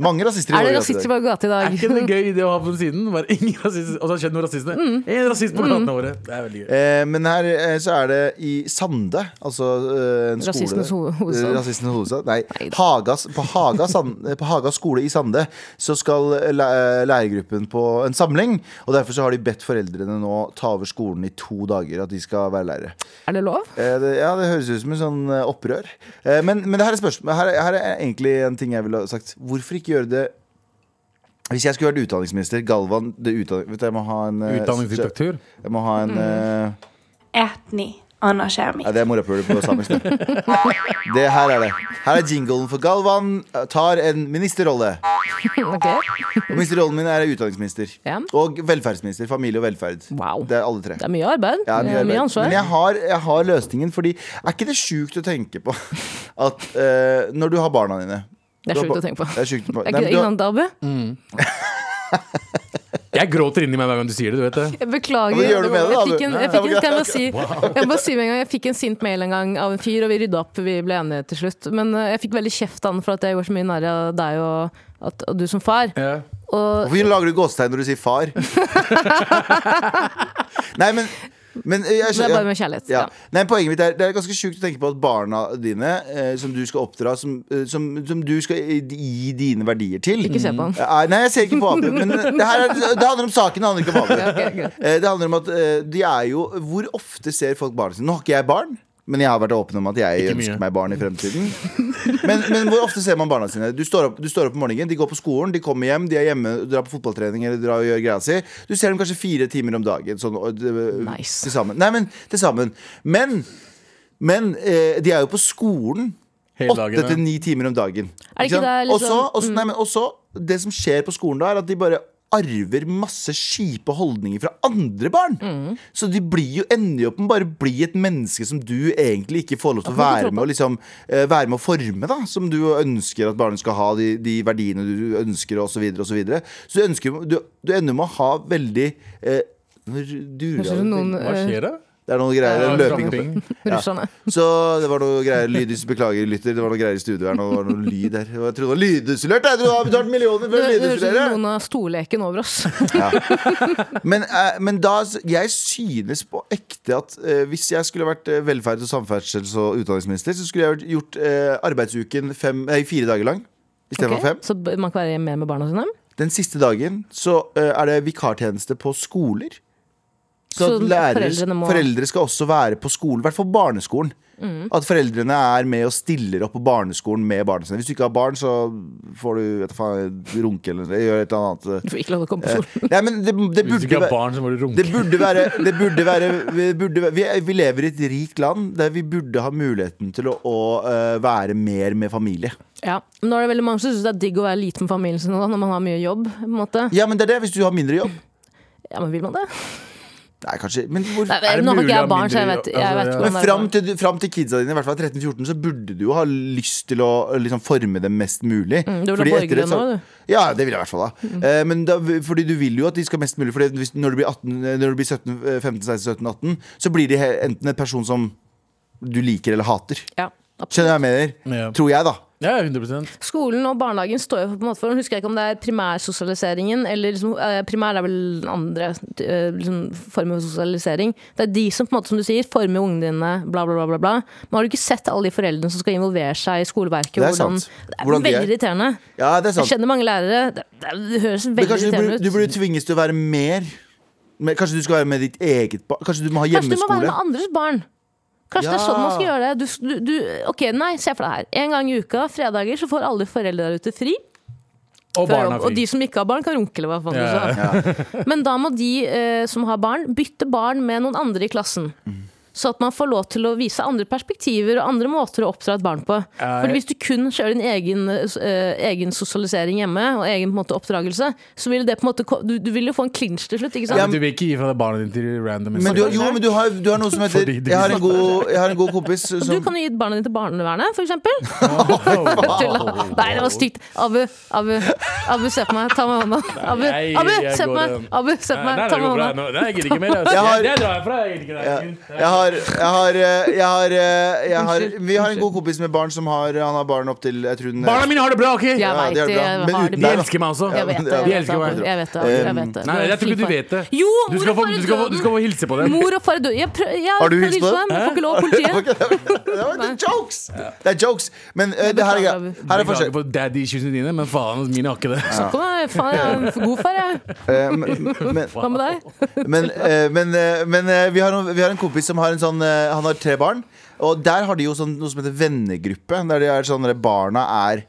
Mange rasister i altså. Er det vår gate i dag. rasister i våre gater i Er dag? ikke det gøy det å ha på den siden? Bare ingen rasist, og så har det skjedd noen rasister. Mm. En rasist på gatene våre. Det er veldig gøy. Eh, men her eh, så er det i Sande, altså eh, en skole Rasistenes ho- hovedstad. Eh, Rasistenes hovedstad. Nei. Hagas, på, Haga Sand, eh, på Haga skole i Sande så skal eh, læ- lærergruppen på en samling. Og derfor så har de bedt foreldrene nå ta over skolen i to dager, at de skal være lærere. Er det lov? Eh, det, ja, det høres ut som en sånn eh, opprør. Eh, men men det her, er spørsmål, her, er- her er egentlig en ting jeg ville ha sagt. Hvorfor ikke gjøre det Hvis jeg skulle vært utdanningsminister, Galvan det utdanning, vet du, Jeg må ha en eh, Utdanningsdiktatur. Jeg må ha en eh, Etni Anashami. Nei, det er morapuler på samisk. nå. Det her er det. Her er jinglen for Galvan eh, tar en ministerrolle. Ok. Og ministerrollen min er utdanningsminister. Ja. Og velferdsminister. Familie og velferd. Wow. Det er alle tre. Det er mye arbeid. Ja, det mye er mye arbeid. ansvar. Men jeg har, jeg har løsningen, fordi er ikke det sjukt å tenke på at eh, når du har barna dine Det du er har sjukt bar- å Det tenke på. er sjukt å tenke Er ikke det på. innad, Abu? Jeg gråter inni meg hver gang du sier det, du vet det. Jeg beklager. Hva gjør du med det, da, Jeg fikk en, Abu? jeg fikk en, Nei, skal jeg bare si, jeg må si med en gang, jeg fikk en sint mail en gang av en fyr, og vi rydda opp, vi ble enige til slutt. Men eh, jeg fikk veldig kjeft av han for at jeg gjorde så mye narr av deg og, at, og du som far. Og Hvorfor lager du gåsetegn når du sier far? Nei, men, men jeg, det er skjønner- bare med kjærlighet. Ja. Ja. Nei, poenget mitt er Det er ganske sjukt å tenke på at barna dine, eh, som du skal oppdra, som, eh, som, som du skal i- gi dine verdier til Ikke se på han. Eh, nei, jeg ser ikke på Abu. Men det, her er, det handler om saken, det handler ikke om Abu. ok, greit. Eh, det handler om at eh, de er jo Hvor ofte ser folk barna sine? Nå har ikke jeg barn. Men jeg har vært åpen om at jeg Ikke ønsker mye. meg barn i fremtiden. Men, men hvor ofte ser man barna sine? Du står, opp, du står opp om morgenen, de går på skolen, de kommer hjem, de er hjemme, drar på fotballtrening eller drar og gjør greia si. Du ser dem kanskje fire timer om dagen. Sånn, og- Nice. til sammen. Nei, men til sammen. Men, men eh, de er jo på skolen Hele åtte til dagen. ni timer om dagen. Er det ikke sant? det er liksom- Og så- og så- nei, men også det som skjer på skolen da, er at de bare arver masse kjipe holdninger fra andre barn. Mm. Så de blir jo, ender jo opp med bare å bli et menneske som du egentlig ikke får lov til å være med, og liksom, eh, være med å forme, da. Som du ønsker at barnet skal ha, de, de verdiene du ønsker, osv. Så, videre, og så, videre. så du, ønsker, du, du ender med å ha veldig eh, nå durer Kanskje jeg noen Hva eh, skjer da? det er noe greier, det er løping oppe. Tramping. russerne Så det var noe greier lydis, Beklager, lytter, det var noe greier i studio her. nå, Det var noe lyd her Og Jeg trodde det var lydisolert! Jeg trodde jeg har betalt millioner Det for å det høres ut lydisolere! som noen har storleken over oss. Men, eh, men da, jeg synes på ekte at eh, hvis jeg skulle vært eh, velferds- og samferdsels- og utdanningsminister, så skulle jeg vært- gjort eh, arbeidsuken fem, nei, fire dager lang. istedenfor Ok, fem. Så b- man kan være hjemme mer med barna sine? Den siste dagen så eh, er det vikartjeneste på skoler. Så, Så at lærere, foreldrene foreldre, må- skal også være på skolen, i hvert fall barneskolen. Mm. At foreldrene er med og stiller opp på barneskolen med barna sine. Hvis du ikke har barn, så får du vet du faen, runke eller noe, gjør et eller annet. Du får ikke lov til å komme på eh. skolen. Nei, men det, det Hvis du burde ikke har være barn, så må du runke. det burde være, det burde være, vi, burde, være- vi, vi lever i et rikt land der vi burde ha muligheten til å, å eh, være mer med familie. Ja. Nå er det veldig mange som syns det er digg å være liten med familien sin og sånn, når man har mye jobb. På en måte. Ja, men det er det hvis du har mindre jobb. Ja, men vil man det? Nei, kanskje Men, hvor, Nei, nå det har ikke mulig å ha jeg barn, så jeg mindre- vet, jeg vet altså, ikke ja. hvordan men det er. fram til, fram til kidsa dine, i hvert fall 13-14, så burde du jo ha lyst til å eh, liksom, forme dem mest mulig. Mm, du vil ha Fordi etter borgere et så- nå, du. Mm. Ja, det vil jeg i hvert fall ha. Eh, men da, fordi du vil jo at de skal mest mulig. Fordi hvis, når du blir, 18, eh, når du blir 17, eh, 15, 16, 17, 18, så blir de he- enten en person som du liker eller hater. Ja, absolutt. Skjønner du hva jeg mener? Ja. Tror jeg, da. Ja, 100 Skolen og barnehagen står jo på en måte for Husker jeg ikke om det er primærsosialiseringen eller liksom, eh, Primær er vel den andre eh, liksom, formen for sosialisering. Det er de som på en måte, som du sier, former ungene dine, bla, bla, bla. bla, bla. Men har du ikke sett alle de foreldrene som skal involvere seg i skoleverket? Det er hvordan, sant. det er Hvordan de er. veldig irriterende. Ja, det er Jeg sant. kjenner mange lærere. Det, det, det høres Men veldig kanskje du burde, irriterende du ut. burde tvinges til å være mer men Kanskje du skal være med ditt eget barn? Kanskje du må ha Kanskje du må være hjemmeskole? med andres barn. Kanskje det er sånn man skal Ja. gjøre det. Du, du, du, ok, nei, se for deg her. En gang i uka, fredager, så får alle foreldre der ute fri. Og Før barna jobb. Og de fikk. som ikke har barn, kan runke eller hva faen Ja. du sa. Men da må de eh, som har barn, bytte barn med noen andre i klassen. Så at man får lov til å vise andre perspektiver og andre måter å oppdra et barn på. Ja, For jeg- hvis du kun kjører din egen, eh, egen sosialisering hjemme, og egen på en måte, oppdragelse, så vil det på en måte ko- Du, du vil jo få en clinch til slutt, ikke sant? Men du vil ikke gi fra deg barna dine til random Men du, har- jo, men du har, du har noe som heter Fordi de Jeg har en god, jeg har en god kompis som Du kan jo gi barna dine til barnevernet, for eksempel. Tulla. Tulla. Nei, det var stygt. Abu, Abu, Abu, se på meg. Ta meg i hånda. Abu, Nei, Abu, jeg se på går meg. den. Abu, se på meg. Ta meg i hånda. Nei, jeg gidder ikke mer. altså. Jeg har- Det drar jeg fra. Jeg gidder ikke jeg, jeg har, jeg har, eh, jeg har, eh, jeg har Unnskyld, Vi har en unnskyld. god kompis med barn som har Han har barn opp til jeg tror den, Barna mine har det bra, OK? Jeg Ja, vet det er det. bra. Jeg Men uten har det De bra. deg, da. elsker meg også. Jeg vet det. De Jeg vet det, elsker Abu. meg. Jeg vet det. Abu, Jeg vet det. Du Nei, er jeg tror ikke du flink vet det. på- Jo, Du skal mor få, og du far i skal få, du døden. skal få hilse på dem. Mor og far i døden. Jeg prøv- jeg Har du prøvd å hilst på hilse dem? dem, men får ikke lov av politiet. Det var det jokes! Det er jokes. Men eh, det her er beklager, greit. Her er Beklager forskjell. på daddy issuesene dine, men faen, altså, mine har ikke det. Kom, da, faen, jeg er en for god far, jeg. Eh, men- men- Hva med deg? Men, eh, men, eh, men eh, vi, har noen, vi har en kompis som har en sånn eh, Han har tre barn Og der har de jo sånn, noe som heter vennegruppe Der de er sånn der barna er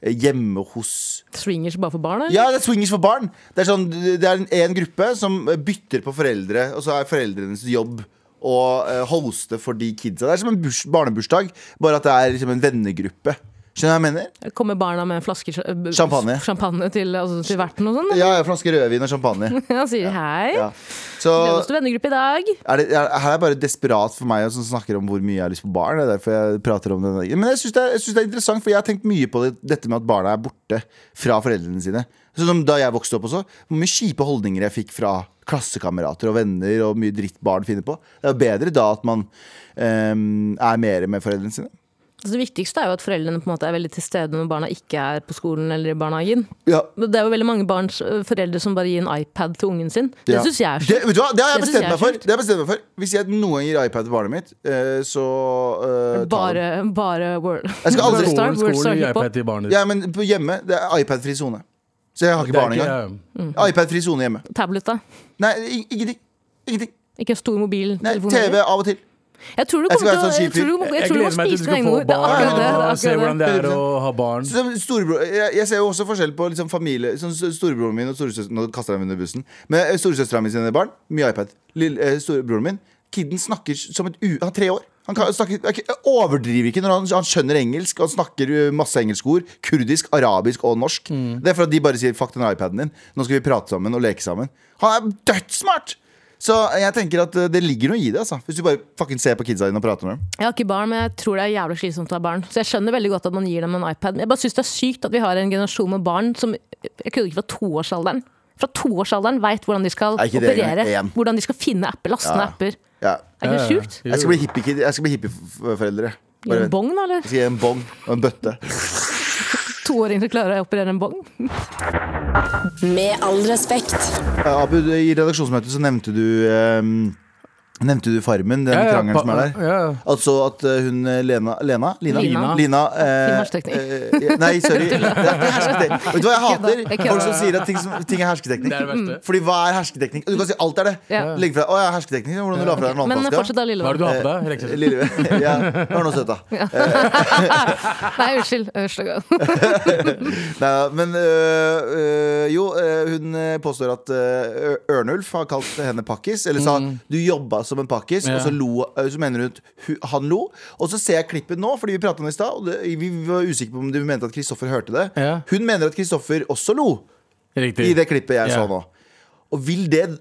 eh, hjemme hos Swingers bare for barn, eller? Ja, det er swingers for barn Det er, sånn, det er en, en gruppe som eh, bytter på foreldre Og så er foreldrenes jobb Å eh, hoste for de kidsa Det er som en burs, barnebursdag Bare at det er liksom en vennegruppe Skjønner du hva jeg mener? Kommer barna med flasker øh, Champagne. champagne til, altså, til verten og sånn? Ja, jeg har flaske rødvin og champagne Han sier hei. ja. Så Gleder oss til vennegruppe i dag. er det, er, her er det bare desperat for meg som snakker om hvor mye jeg har lyst på barn. Det er derfor jeg prater om det. denne dagen. Men jeg syns det, er- jeg synes det er interessant, for jeg har tenkt mye på det, dette med at barna er borte fra foreldrene sine. Sånn som da jeg vokste opp også. Hvor mye kjipe holdninger jeg fikk fra klassekamerater og venner, og mye dritt barn finner på. Det er jo bedre da at man ehm, er mer med foreldrene sine. Altså, det viktigste er jo at foreldrene på en måte er veldig til stede når barna ikke er på skolen eller i barnehagen. Ja. Men Det er jo veldig mange barns øh, foreldre som bare gir en iPad til ungen sin. Det Ja. syns jeg er det, sjukt. vet du hva? det har jeg Det synes bestemt jeg er meg for. sjukt. Det har jeg bestemt meg for Hvis jeg noen gang gir iPad til barnet mitt, eh, så eh, tar den. Bare, bare Word. Jeg skal aldri- Wordstar, Skolen, Wordstar skolen, hiphop. iPad til barnet ditt. Ja, men på hjemme det er iPad-fri sone. Så jeg har ikke barn Det er engang. iPad-fri sone hjemme. Tablet, da. Nei, ing- ingenting. Ingenting. Ikke en stor mobil. Nei, telefon TV heller. av og til. Jeg tror du Jeg skal være kommer til å sånn jeg tror du må- Jeg Jeg tror du må gleder meg til du spise skal dine egne få ord. Det er barn akkurat det. det, er og se akkurat hvordan det. det er å ha barn. Så storebror, jeg, jeg ser jo også forskjell på liksom familie sånn s- Storebroren min og storesøsteren Nå kaster jeg dem under bussen. Men eh, storesøstera mi sine barn, mye iPad. Lille, eh, storebroren min, kiden snakker som et u... Han er tre år. Han kan, snakker, er ikke- overdriver ikke når han, han skjønner engelsk. Han snakker eh, masse engelske ord. Kurdisk, arabisk og norsk. Det er for at de bare sier 'fuck den iPaden din', nå skal vi prate sammen og leke sammen. Han er dødssmart! Så jeg tenker at eh, det ligger noe i det, altså. Hvis du bare fucking ser på kidsa dine og prater med dem. Jeg har ikke barn, men jeg tror det er jævlig slitsomt å ha barn. Så jeg skjønner veldig godt at man gir dem en iPad. Men jeg bare syns det er sykt at vi har en generasjon med barn som Jeg kødder ikke fra toårsalderen. Fra toårsalderen veit hvordan de skal Er ikke det operere. engang én? Hvordan de skal finne apper, laste ned Ja. apper. Ja. Er ikke det sjukt? Jeg skal bli hippiekid. Jeg skal bli hippieforeldre. Gi en bong, da, eller? Jeg skal gi en bong og en bøtte. Toåring som klarer å operere en bong? Med all respekt. Eh, Abu, i redaksjonsmøtet så nevnte du ehm, Nevnte du Farmen, den Ja, ja, krangelen pa- som er der? ja, ja. Altså at eh, hun eh, Lena Lena? Lina? Lina. Lina eh, Hersketeknikk. eh, nei, sorry. Det er ikke hersketeknikk. Vet du hva jeg hater? Jeg kødder. Folk som sier at ting, som, ting er hersketeknikk. Mm. Det er det verste. Fordi hva er hersketeknikk? Du kan si alt er det. Ja. Legg fra deg Å ja, hersketeknikk. Hvordan du la fra deg en Men eh, fortsett vannflaske? da, Hva er det du Lillevann. har på deg? Reksel? Lille, ja, hør nå, søta. Nei, unnskyld. Unnskyld. Nei, men øh, øh, jo, øh, hun øh, påstår at øh, Ø- Ørnulf har kalt henne pakkis. Eller sa 'du jobba som en pakkis', Mm. Ja. og så, lo, øh, så mener hun at hu- han lo. Og så ser jeg klippet nå, fordi vi prata om det i stad, og det, vi var usikre på om du mente at Kristoffer hørte det. Ja. Hun mener at Kristoffer også lo Riktig. i det klippet jeg Ja. så nå. Og vil det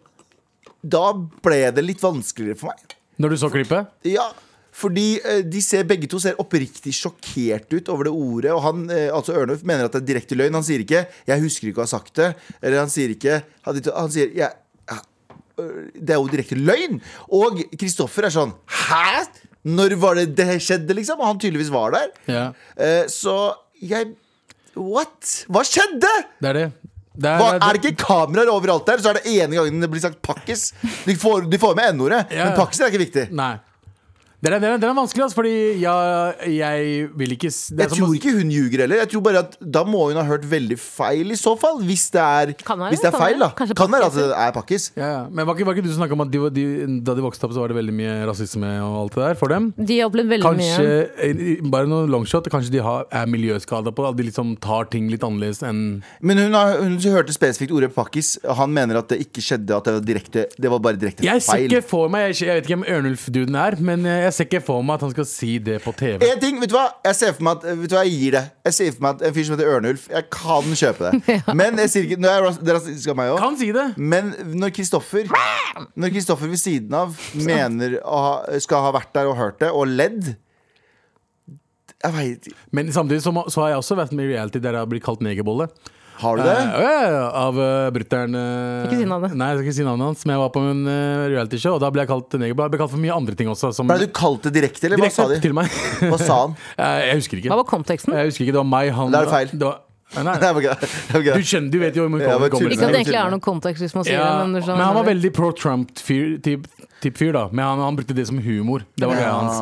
Da ble det litt vanskeligere for meg. Når du så klippet? Ja, fordi eh, de ser, begge to ser oppriktig sjokkert ut over det ordet. Og han, eh, altså Ørnulf mener at det er direkte løgn. Han sier ikke 'jeg husker ikke å ha sagt det'. Eller han sier ikke Han, han sier «Jeg- ja, øh, Det er jo direkte løgn! Og Kristoffer er sånn 'hæ?! Når var det det skjedde?' liksom. Og han tydeligvis var der. Ja. Eh, så jeg What? Hva skjedde?! Det er det. Det er, Hva, er det ikke kameraer overalt der, så er det ene gangen det blir sagt pakkis. De får, de får med n-ordet, Ja. men pakkis er ikke viktig. Nei. Den er, den er, den er vanskelig, altså, fordi jeg, jeg vil ikke s- det er Jeg som å- tror ikke hun ljuger heller. Jeg tror bare at Da må hun ha hørt veldig feil, i så fall. Hvis det er, Kan være, hvis det er kan feil, da. være. Kanskje Kan være at pakkis. det er pakkis. ja, ja. Men var ikke, var ikke du som snakka om at de, var- de, da de vokste opp, så var det veldig mye rasisme og alt det der for dem? De har opplevd veldig Kanskje, mye. eh, bare noen longshot, kanskje de har, er miljøskada på det? At de liksom tar ting litt annerledes enn Men hun, har, hun hørte spesifikt ordet pakkis. Han mener at det ikke skjedde, at det var, direkte, det var bare direkte Jeg ser feil. ikke for meg, jeg, jeg vet ikke hvem Ørnulf-duden er, men eh, jeg ser ikke for meg at han skal si det på TV. En ting, vet du hva? Jeg ser for meg at Vet du hva, jeg gir det. Jeg ser for meg at En fyr som heter Ørnulf, jeg kan kjøpe det. Men jeg sier ikke Nå er jeg ras- det er rasistisk av meg òg. Kan si det! Men når Kristoffer Når Kristoffer ved siden av mener å ha, skal ha vært der og hørt det, og ledd Jeg veit Men samtidig så, må- så har jeg også vært med i reality der jeg har blitt kalt negerbolle. Har du det? Eh, ja, ja, ja, av uh, brutter'n Ikke si navnet. Nei, jeg skal ikke si navnet hans, men jeg var på en eh, realityshow, og da ble jeg kalt negerbolle. Jeg ble kalt for mye andre ting også. Som Ble du kalt det direkte, eller hva direkte sa de? til meg. Hva sa han? Eh, jeg husker Hva ikke. var konteksten? Jeg husker ikke, Det var meg, han Da er det feil. var, nei, Nei, det var ikke det. det. var ikke Du det. skjønner, du vet jo Ja, hvor det bare kommer tull. Ikke at Nei, fra. det egentlig unnskyld. er noen kontekst hvis man sier Ja, det, sånn- men, du skjønner men han hva jeg var mener. veldig pro Trump-fyr, typ, typ fyr, da. Men han, han brukte det som humor. Det var greia hans.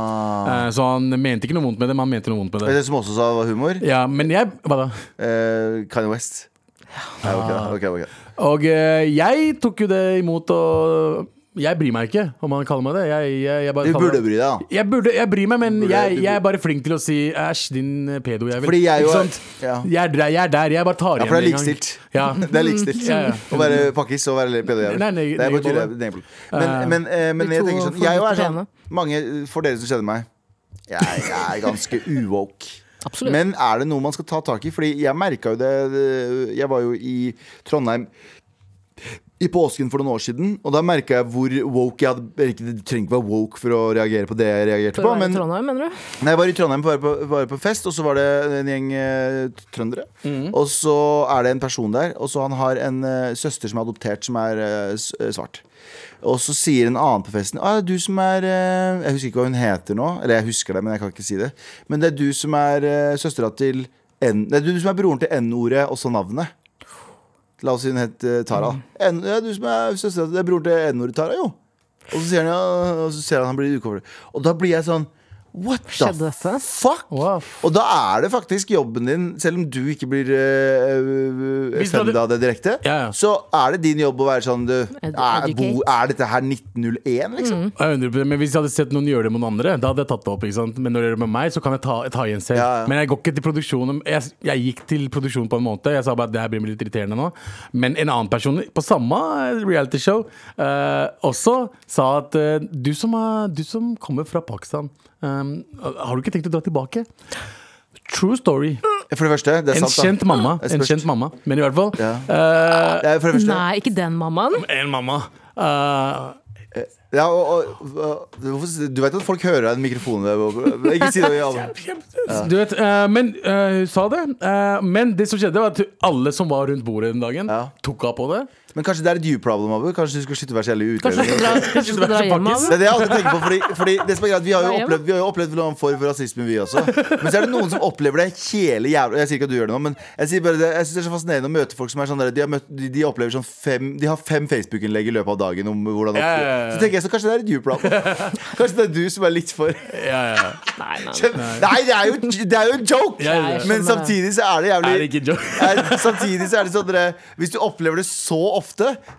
Eh, så han mente ikke noe vondt med det, men han mente noe vondt med Vet du det. hvem som også sa det var humor? Ja, men jeg Hva da? Eh, Kanye West. Nei, ok, da. ok, ok. Og eh, jeg tok jo det imot, og jeg bryr meg ikke om han kaller meg det. Jeg, jeg, jeg bare Du kaller burde det- bry deg, da. Jeg burde, jeg bryr meg, men Du burde- jeg, du jeg er burde- bare flink til å si æsj, din eh, pedo jævel. Fordi jeg jo Ikke er- sant? ja. Jeg, er der, jeg er der, jeg bare tar Ja, igjen for det er en gang. likestilt. Ja. Det er likestilt. Ja, ja. Å være pakkis og være pedogjævel. Nei, Det nei, er bare negerbolle. tydelig negerbolle. Men, Eh, men, eh, men de jeg to tenker sånn Jeg jo er forbudte sånn Mange, for dere som kjenner meg, jeg, jeg er ganske uwoke. Absolutt. Men er det noe man skal ta tak i? Fordi jeg merka jo det det- Jeg var jo i Trondheim i påsken for noen år siden, og da merka jeg hvor woke jeg hadde Jeg trenger ikke være woke for å reagere på det jeg reagerte For å på, være i men Trondheim, mener du? Nei, jeg var i Trondheim bare på, bare på fest, og så var det en gjeng eh, trøndere. Og så er det en person der, og så han har en eh, søster som er adoptert, som er eh, s- eh, svart. Og så sier en annen på festen ah, det er du som er eh, Jeg husker ikke hva hun heter nå, eller jeg husker det, men jeg kan ikke si det. Men det er du som er eh, søstera til N... Det er du som er broren til N-ordet, også navnet. La oss si hun het eh, Mm. Tara. N, ja, du som er søstera til Det er broren til N-ordet Tara, jo. Og så sier han ja, og så ser han han blir ukomfortabel. Og da blir jeg sånn What Skjedde the dette? fuck? Wow. Og da er det faktisk jobben din, selv om du ikke blir uh, Hvis du hadde- av det direkte, Ja, ja. så er det din jobb å være sånn du, er, Educate. bo, er dette her 1901, liksom? Jeg undrer på det, men Hvis jeg hadde sett noen gjøre det med noen andre, Da hadde jeg tatt det opp. ikke sant? Men når det gjør det med meg, så kan jeg ta, ta igjen selv. Ja, ja. Men jeg går ikke til produksjonen jeg, jeg gikk til produksjonen på en måned. Jeg sa bare at det her blir litt irriterende nå. Men en annen person på samme realityshow eh, også sa at eh, du, som er, du som kommer fra Pakistan, eh, har du ikke tenkt å dra tilbake? True story. For det første, Mm. det er En sant. da. kjent mamma. Det er En spørs. kjent mamma. Men i hvert fall Ja. eh, Det er for det første. Nei, ikke den mammaen. En mamma. eh, Ja, og, og, og, hvorfor- du vet at folk hører deg i mikrofonen? Ikke si det i alle Du vet, eh, men eh, hun sa det. eh, men det som skjedde, var at alle som var rundt bordet den dagen, Ja. tok av på det. Men kanskje det er et you problem, Abu? Kanskje du skulle slutte å være så jævlig Kanskje du utlending? skal dra, kanskje du skal dra hjem? Abu? Det er det jeg alltid tenker på, fordi, fordi det som er greit, vi har jo Hva gjør opplevd, vi har jo opplevd noen form for rasisme, vi også. Men så er det noen som opplever det hele jævla Jeg sier ikke at du gjør det nå, men jeg, sier bare det, jeg synes det er så fascinerende å møte folk som er sånn der, de, har møtt, de, de opplever sånn fem De har fem Facebook-innlegg i løpet av dagen om hvordan Ja, ja, ja, ja. Så tenker jeg så kanskje det er et duplan. Kanskje det er du som er litt for Ja, ja. Nei, nei, nei. Nei, det er jo, det er jo en joke! Ja, ja, ja. Men samtidig så er det jævlig Er det ikke en joke? er, Samtidig så er det sånn dere, Hvis du opplever det så ofte,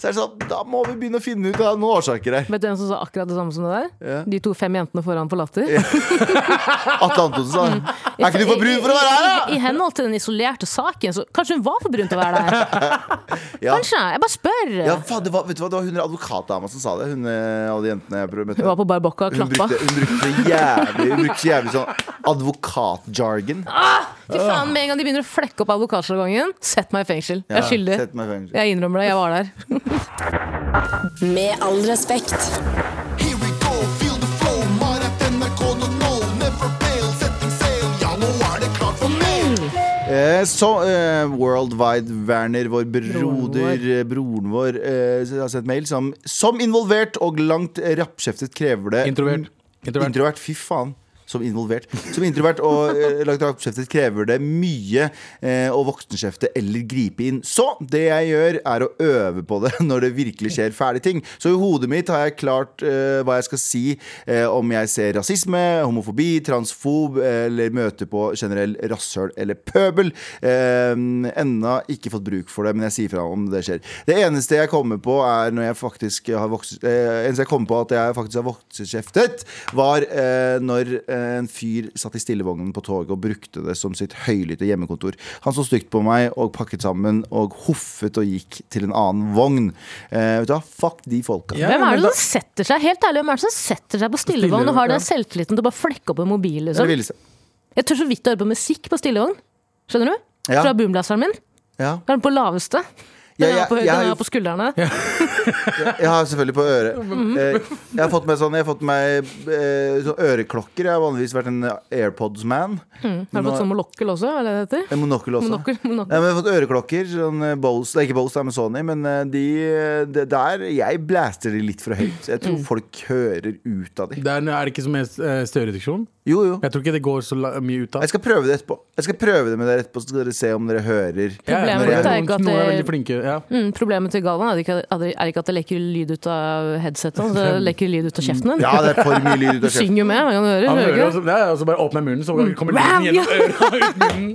så er det sånn Da må vi begynne å finne ut av noen årsaker her. Vet du hvem som sa akkurat det samme som det der? Ja. De to fem jentene foran på latter. Atle Antonsen Mm. sa Er ikke du for brun for å være her, da? I, i, I henhold til den isolerte saken, så kanskje hun var for brun til å være der. Ja. Kanskje. Jeg bare spør. Ja, faen, det var, vet du hva, det var hun advokatdama som sa det. Hun, eh, alle de jentene jeg prøvde å Hun møte. var på barbokka og Hun klappa. brukte, hun brukte jævlig Hun brukte jævlig sånn advokatjargon. Ah, Fy faen, Med en gang de begynner å flekke opp advokatsjargongen, sett meg i fengsel. Jeg er skyldig. Sett meg i fengsel. Jeg innrømmer det. Jeg var der. Med all respekt. Here we go, feel the flow. Marat NRK nå, never fail. Setting sail, ja, nå er det klart for mail. Eh, så eh, Worldwide Werner, vår broder, eh, broren vår, eh, har sett mail som Som involvert og langt eh, rappkjeftet krever det Introvert. Introvert. Introvert. Fy faen. Som involvert. Som introvert og eh, langt rappkjeftet krever det mye eh, å voksenskjefte eller gripe inn. Så det jeg gjør, er å øve på det når det virkelig skjer fæle ting. Så i hodet mitt har jeg klart eh, hva jeg skal si eh, om jeg ser rasisme, homofobi, transfob eh, eller møter på generell rasshøl eller pøbel. Eh, enda ikke fått bruk for det, men jeg sier fra om det skjer. Det eneste jeg kommer på, er når jeg faktisk har vokst, eh, eneste jeg kommer på at jeg faktisk har voksekjeftet, var eh, når eh, en fyr satt i stillevognen på toget og brukte det som sitt høylytte hjemmekontor. Han så stygt på meg og pakket sammen og hoffet og gikk til en annen vogn. Eh, vet du hva, fuck de folka. Ja, Hvem er men det da- som setter seg helt ærlig, hvem er det som setter seg på stillevogn og har den selvtilliten til å bare flekke opp en mobil? Det er det Liksom? villeste. Jeg tør så vidt å høre på musikk på stillevogn. Skjønner du? Ja. Fra boomblasteren min. Ja. Da er den på laveste. Ja, Den er jeg- på, jeg høy- den har jo- er på skuldrene. Jeg har selvfølgelig på øret. Eh, Jeg har fått meg sånn Jeg har fått meg eh, sånn øreklokker. Jeg har vanligvis vært en AirPods-man. Har du Nå- fått sånn monokkel også? Er det det heter? En monokkel også. Monokkel, monokkel. Ja, men jeg har fått øreklokker. Sånn eh, Bose, det er ikke Bose, det er med Sony, men eh, de, det der Jeg blaster de litt for høyt. Jeg Mm. tror folk hører ut av de. Det er, er det ikke som er eh, støyreduksjon? Jo, jo. Jeg tror ikke det går så la- mye ut av. Jeg skal prøve det etterpå. Jeg skal prøve det med dere etterpå, så skal dere se om dere hører. Ja, ja, Problemet men er noen- ikke at Noen er det- veldig flinke. Ja. Mm, problemet til Galvan er, det ikke- er det- er ikke at det lekker lyd ut av headsetet, og det lekker lyd ut av kjeften din. Ja, det er for mye lyd ut Du av kjeften. synger jo med, man kan høre. Mm. Han hører hører, ikke og det? så, det er, og så bare åpner jeg munnen, så kommer lyden Wow, gjennom øret og ut munnen.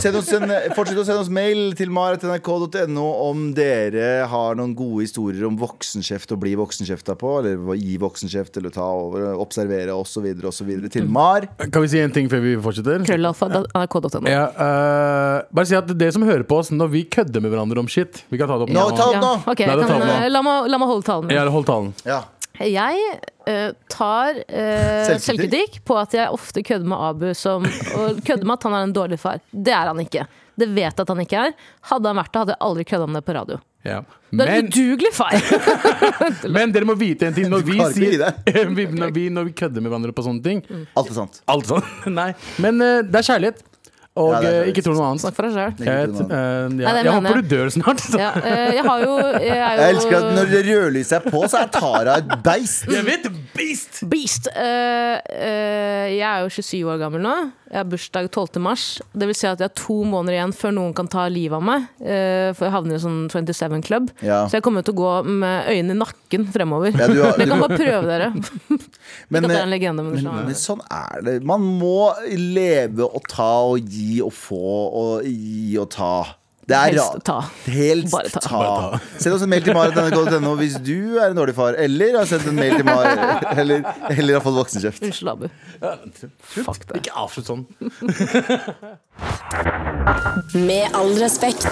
Send oss en, fortsett å sende oss mail til maratnrk.no om dere har noen gode historier om voksenkjeft å bli voksenkjefta på, eller gi voksenkjeft, eller ta over, observere osv. osv. til mar. Kan vi si en ting før vi fortsetter? Krøllalfa da- nrk.no. Ja, eh, bare si at dere som hører på oss, når vi kødder med hverandre om shit Vi kan ta det opp Nå, ta opp nå! Ja, ok, jeg Nei, da tar kan, vi den. eh, la, meg, la meg holde talen min. Ja, hold talen. Ja. Jeg eh, tar eh, Selvkritikk? selvkritikk på at jeg ofte kødder med Abu som, og kødder med at han er en dårlig far. Det er han ikke. Det vet jeg at han ikke er. Hadde han vært det, hadde jeg aldri kødda med det på radio. Ja. Det er en Men, udugelig far! men dere må vite en ting. Når vi, klarer ikke å gi sier, deg. vi, når vi, når vi kødder med hverandre på sånne ting Mm. Alt er sant. Alt sånn. Nei. Men eh, det er kjærlighet. Og Ja, det er eh, kjærlighet. ikke tro noe annet. Snakk for deg sjøl. Jeg, Ikke tro noe eh, Nei, ja. det jeg mener håper jeg. du dør snart. så. Ja, eh, jeg har jo Jeg, er jo, Jeg elsker at når det rødlyset er på, så er Tara et beist. Jeg vet Mm. beast! Beast! Eh, eh, jeg er jo 27 år gammel nå. Jeg har bursdag 12. mars. Det vil si at jeg har to måneder igjen før noen kan ta livet av meg. eh, for jeg havner i sånn 27 Club. Ja. Så jeg kommer til å gå med øynene i nakken fremover. Ja, du har- Dere kan bare prøve dere. Men, Ikke at det er en eh, legende, men, men, sånn. men sånn er det. Man må leve og ta og gi og få og gi og ta. Det er Helst ra- ta. Helst Bare ta. ta. Send oss en mail til maret.nrk.no hvis du er en dårlig far, eller har sendt en mail til Mar eller, eller har fått voksenkjeft. Unnskyld, Abu. Fuck det. Ikke avslutt sånn. Med all respekt.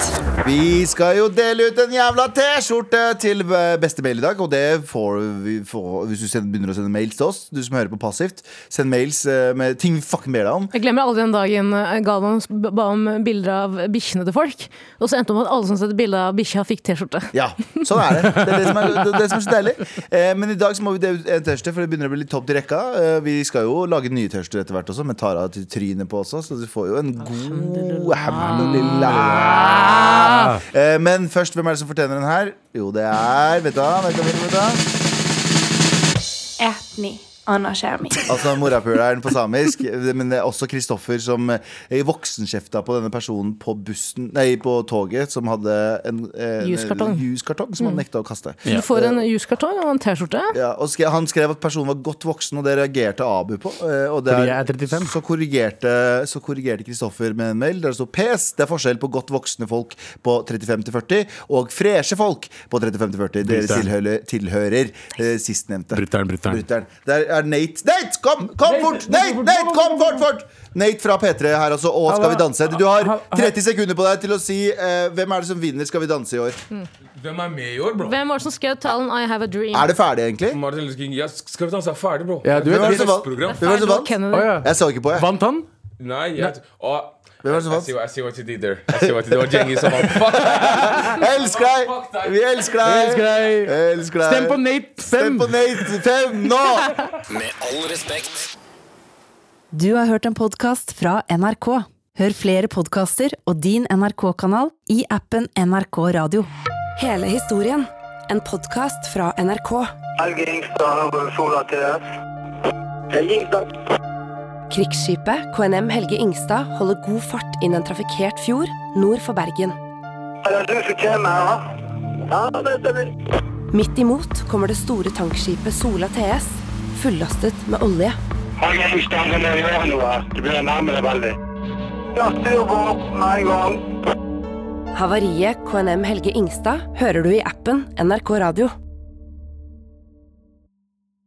Vi skal jo dele ut en jævla T-skjorte til eh, beste mail i dag, og det får vi får, hvis du sender, begynner å sende mails til oss. Du som hører på passivt, send mails eh, med ting vi fucking ber deg om. Jeg glemmer aldri den dagen eh, Galvan b- ba om bilder av bikkjene til folk. Og så endte det med at alle som sendte bilde av bikkja, fikk T-skjorte. Ja, sånn er det. Det er det som er, det er, det som er så deilig. Eh, men i dag så må vi dele ut en T-skjorte, for det begynner å bli litt tomt i rekka. Eh, vi skal jo lage nye T-skjorter etter hvert også, med Tara til trynet på også, så du får jo en god Alhamdulillah. Eh, men først, hvem er det som fortjener den her? Jo, det er Vet du hva? Vet du, hva, vet du, hva? Etni anerkjenner meg. Altså morapuleren på samisk. Men det er også Kristoffer som eh, voksenkjefta på denne personen på bussen Nei, på toget, som hadde en eh, Juskartong. en juskartong som han nekta å kaste. Du får en juskartong og en T-skjorte. Ja, og skre, han skrev at personen var godt voksen, og det reagerte Abu på. eh, Og det Fordi jeg er 35. Så korrigerte så korrigerte Kristoffer med en mail der det sto PS. Det er forskjell på godt voksne folk på 35 til 40 og freshe folk på 35 til 40. Dere Brutter'n. tilhører, tilhører eh, sistnevnte. Brutter'n, brutter'n. Der er Nate. Nate, kom! Kom fort! Nate, Nate, kom fort! fort! Nate fra P3 her, altså. Og Skal vi danse? Du har 30 sekunder på deg til å si eh, hvem er det som vinner Skal vi danse i år. Hvem er med i år, bro? Hvem var det som skrev talen 'I Have A Dream'? Er det ferdig, egentlig? Martin Luther King. Ja, skal vi danse? Jeg er ferdig, bro. Ja, du vet- Hvem er Hvem det som var det program? Hvem var det som Nei, det var vant? Kennedy. Å, ja. Jeg så ikke på, jeg. Vant han? Nei, jeg Å, Hvem var det som jeg vant? ser hva- jeg ser hva til de der. Jeg ser hva til Det var Djengis som vant. Fuck! Jeg elsker deg! Fuck deg. Vi elsker Jeg deg! elsker deg. Jeg elsker deg. Stem på Nate. Stem Fem. på Nate! Fem nå! Med all respekt. Du har hørt en podkast fra NRK. Hør flere podkaster og din NRK-kanal i appen NRK Radio. Hele historien. En podkast fra NRK. Helge Ingstad over Sola TS. Helge Ingstad. Krigsskipet KNM Helge Ingstad holder god fart inn en trafikkert fjord nord for Bergen. Er det du som kommer her, da? Ja, det stemmer. Midt imot kommer det store tankskipet Sola TS, fullastet med olje. Helge Ingstad, det må gjøre noe. Du begynner å nærme deg veldig. Ja, styr på med en gang. Havariet KNM Helge Ingstad hører du i appen NRK Radio.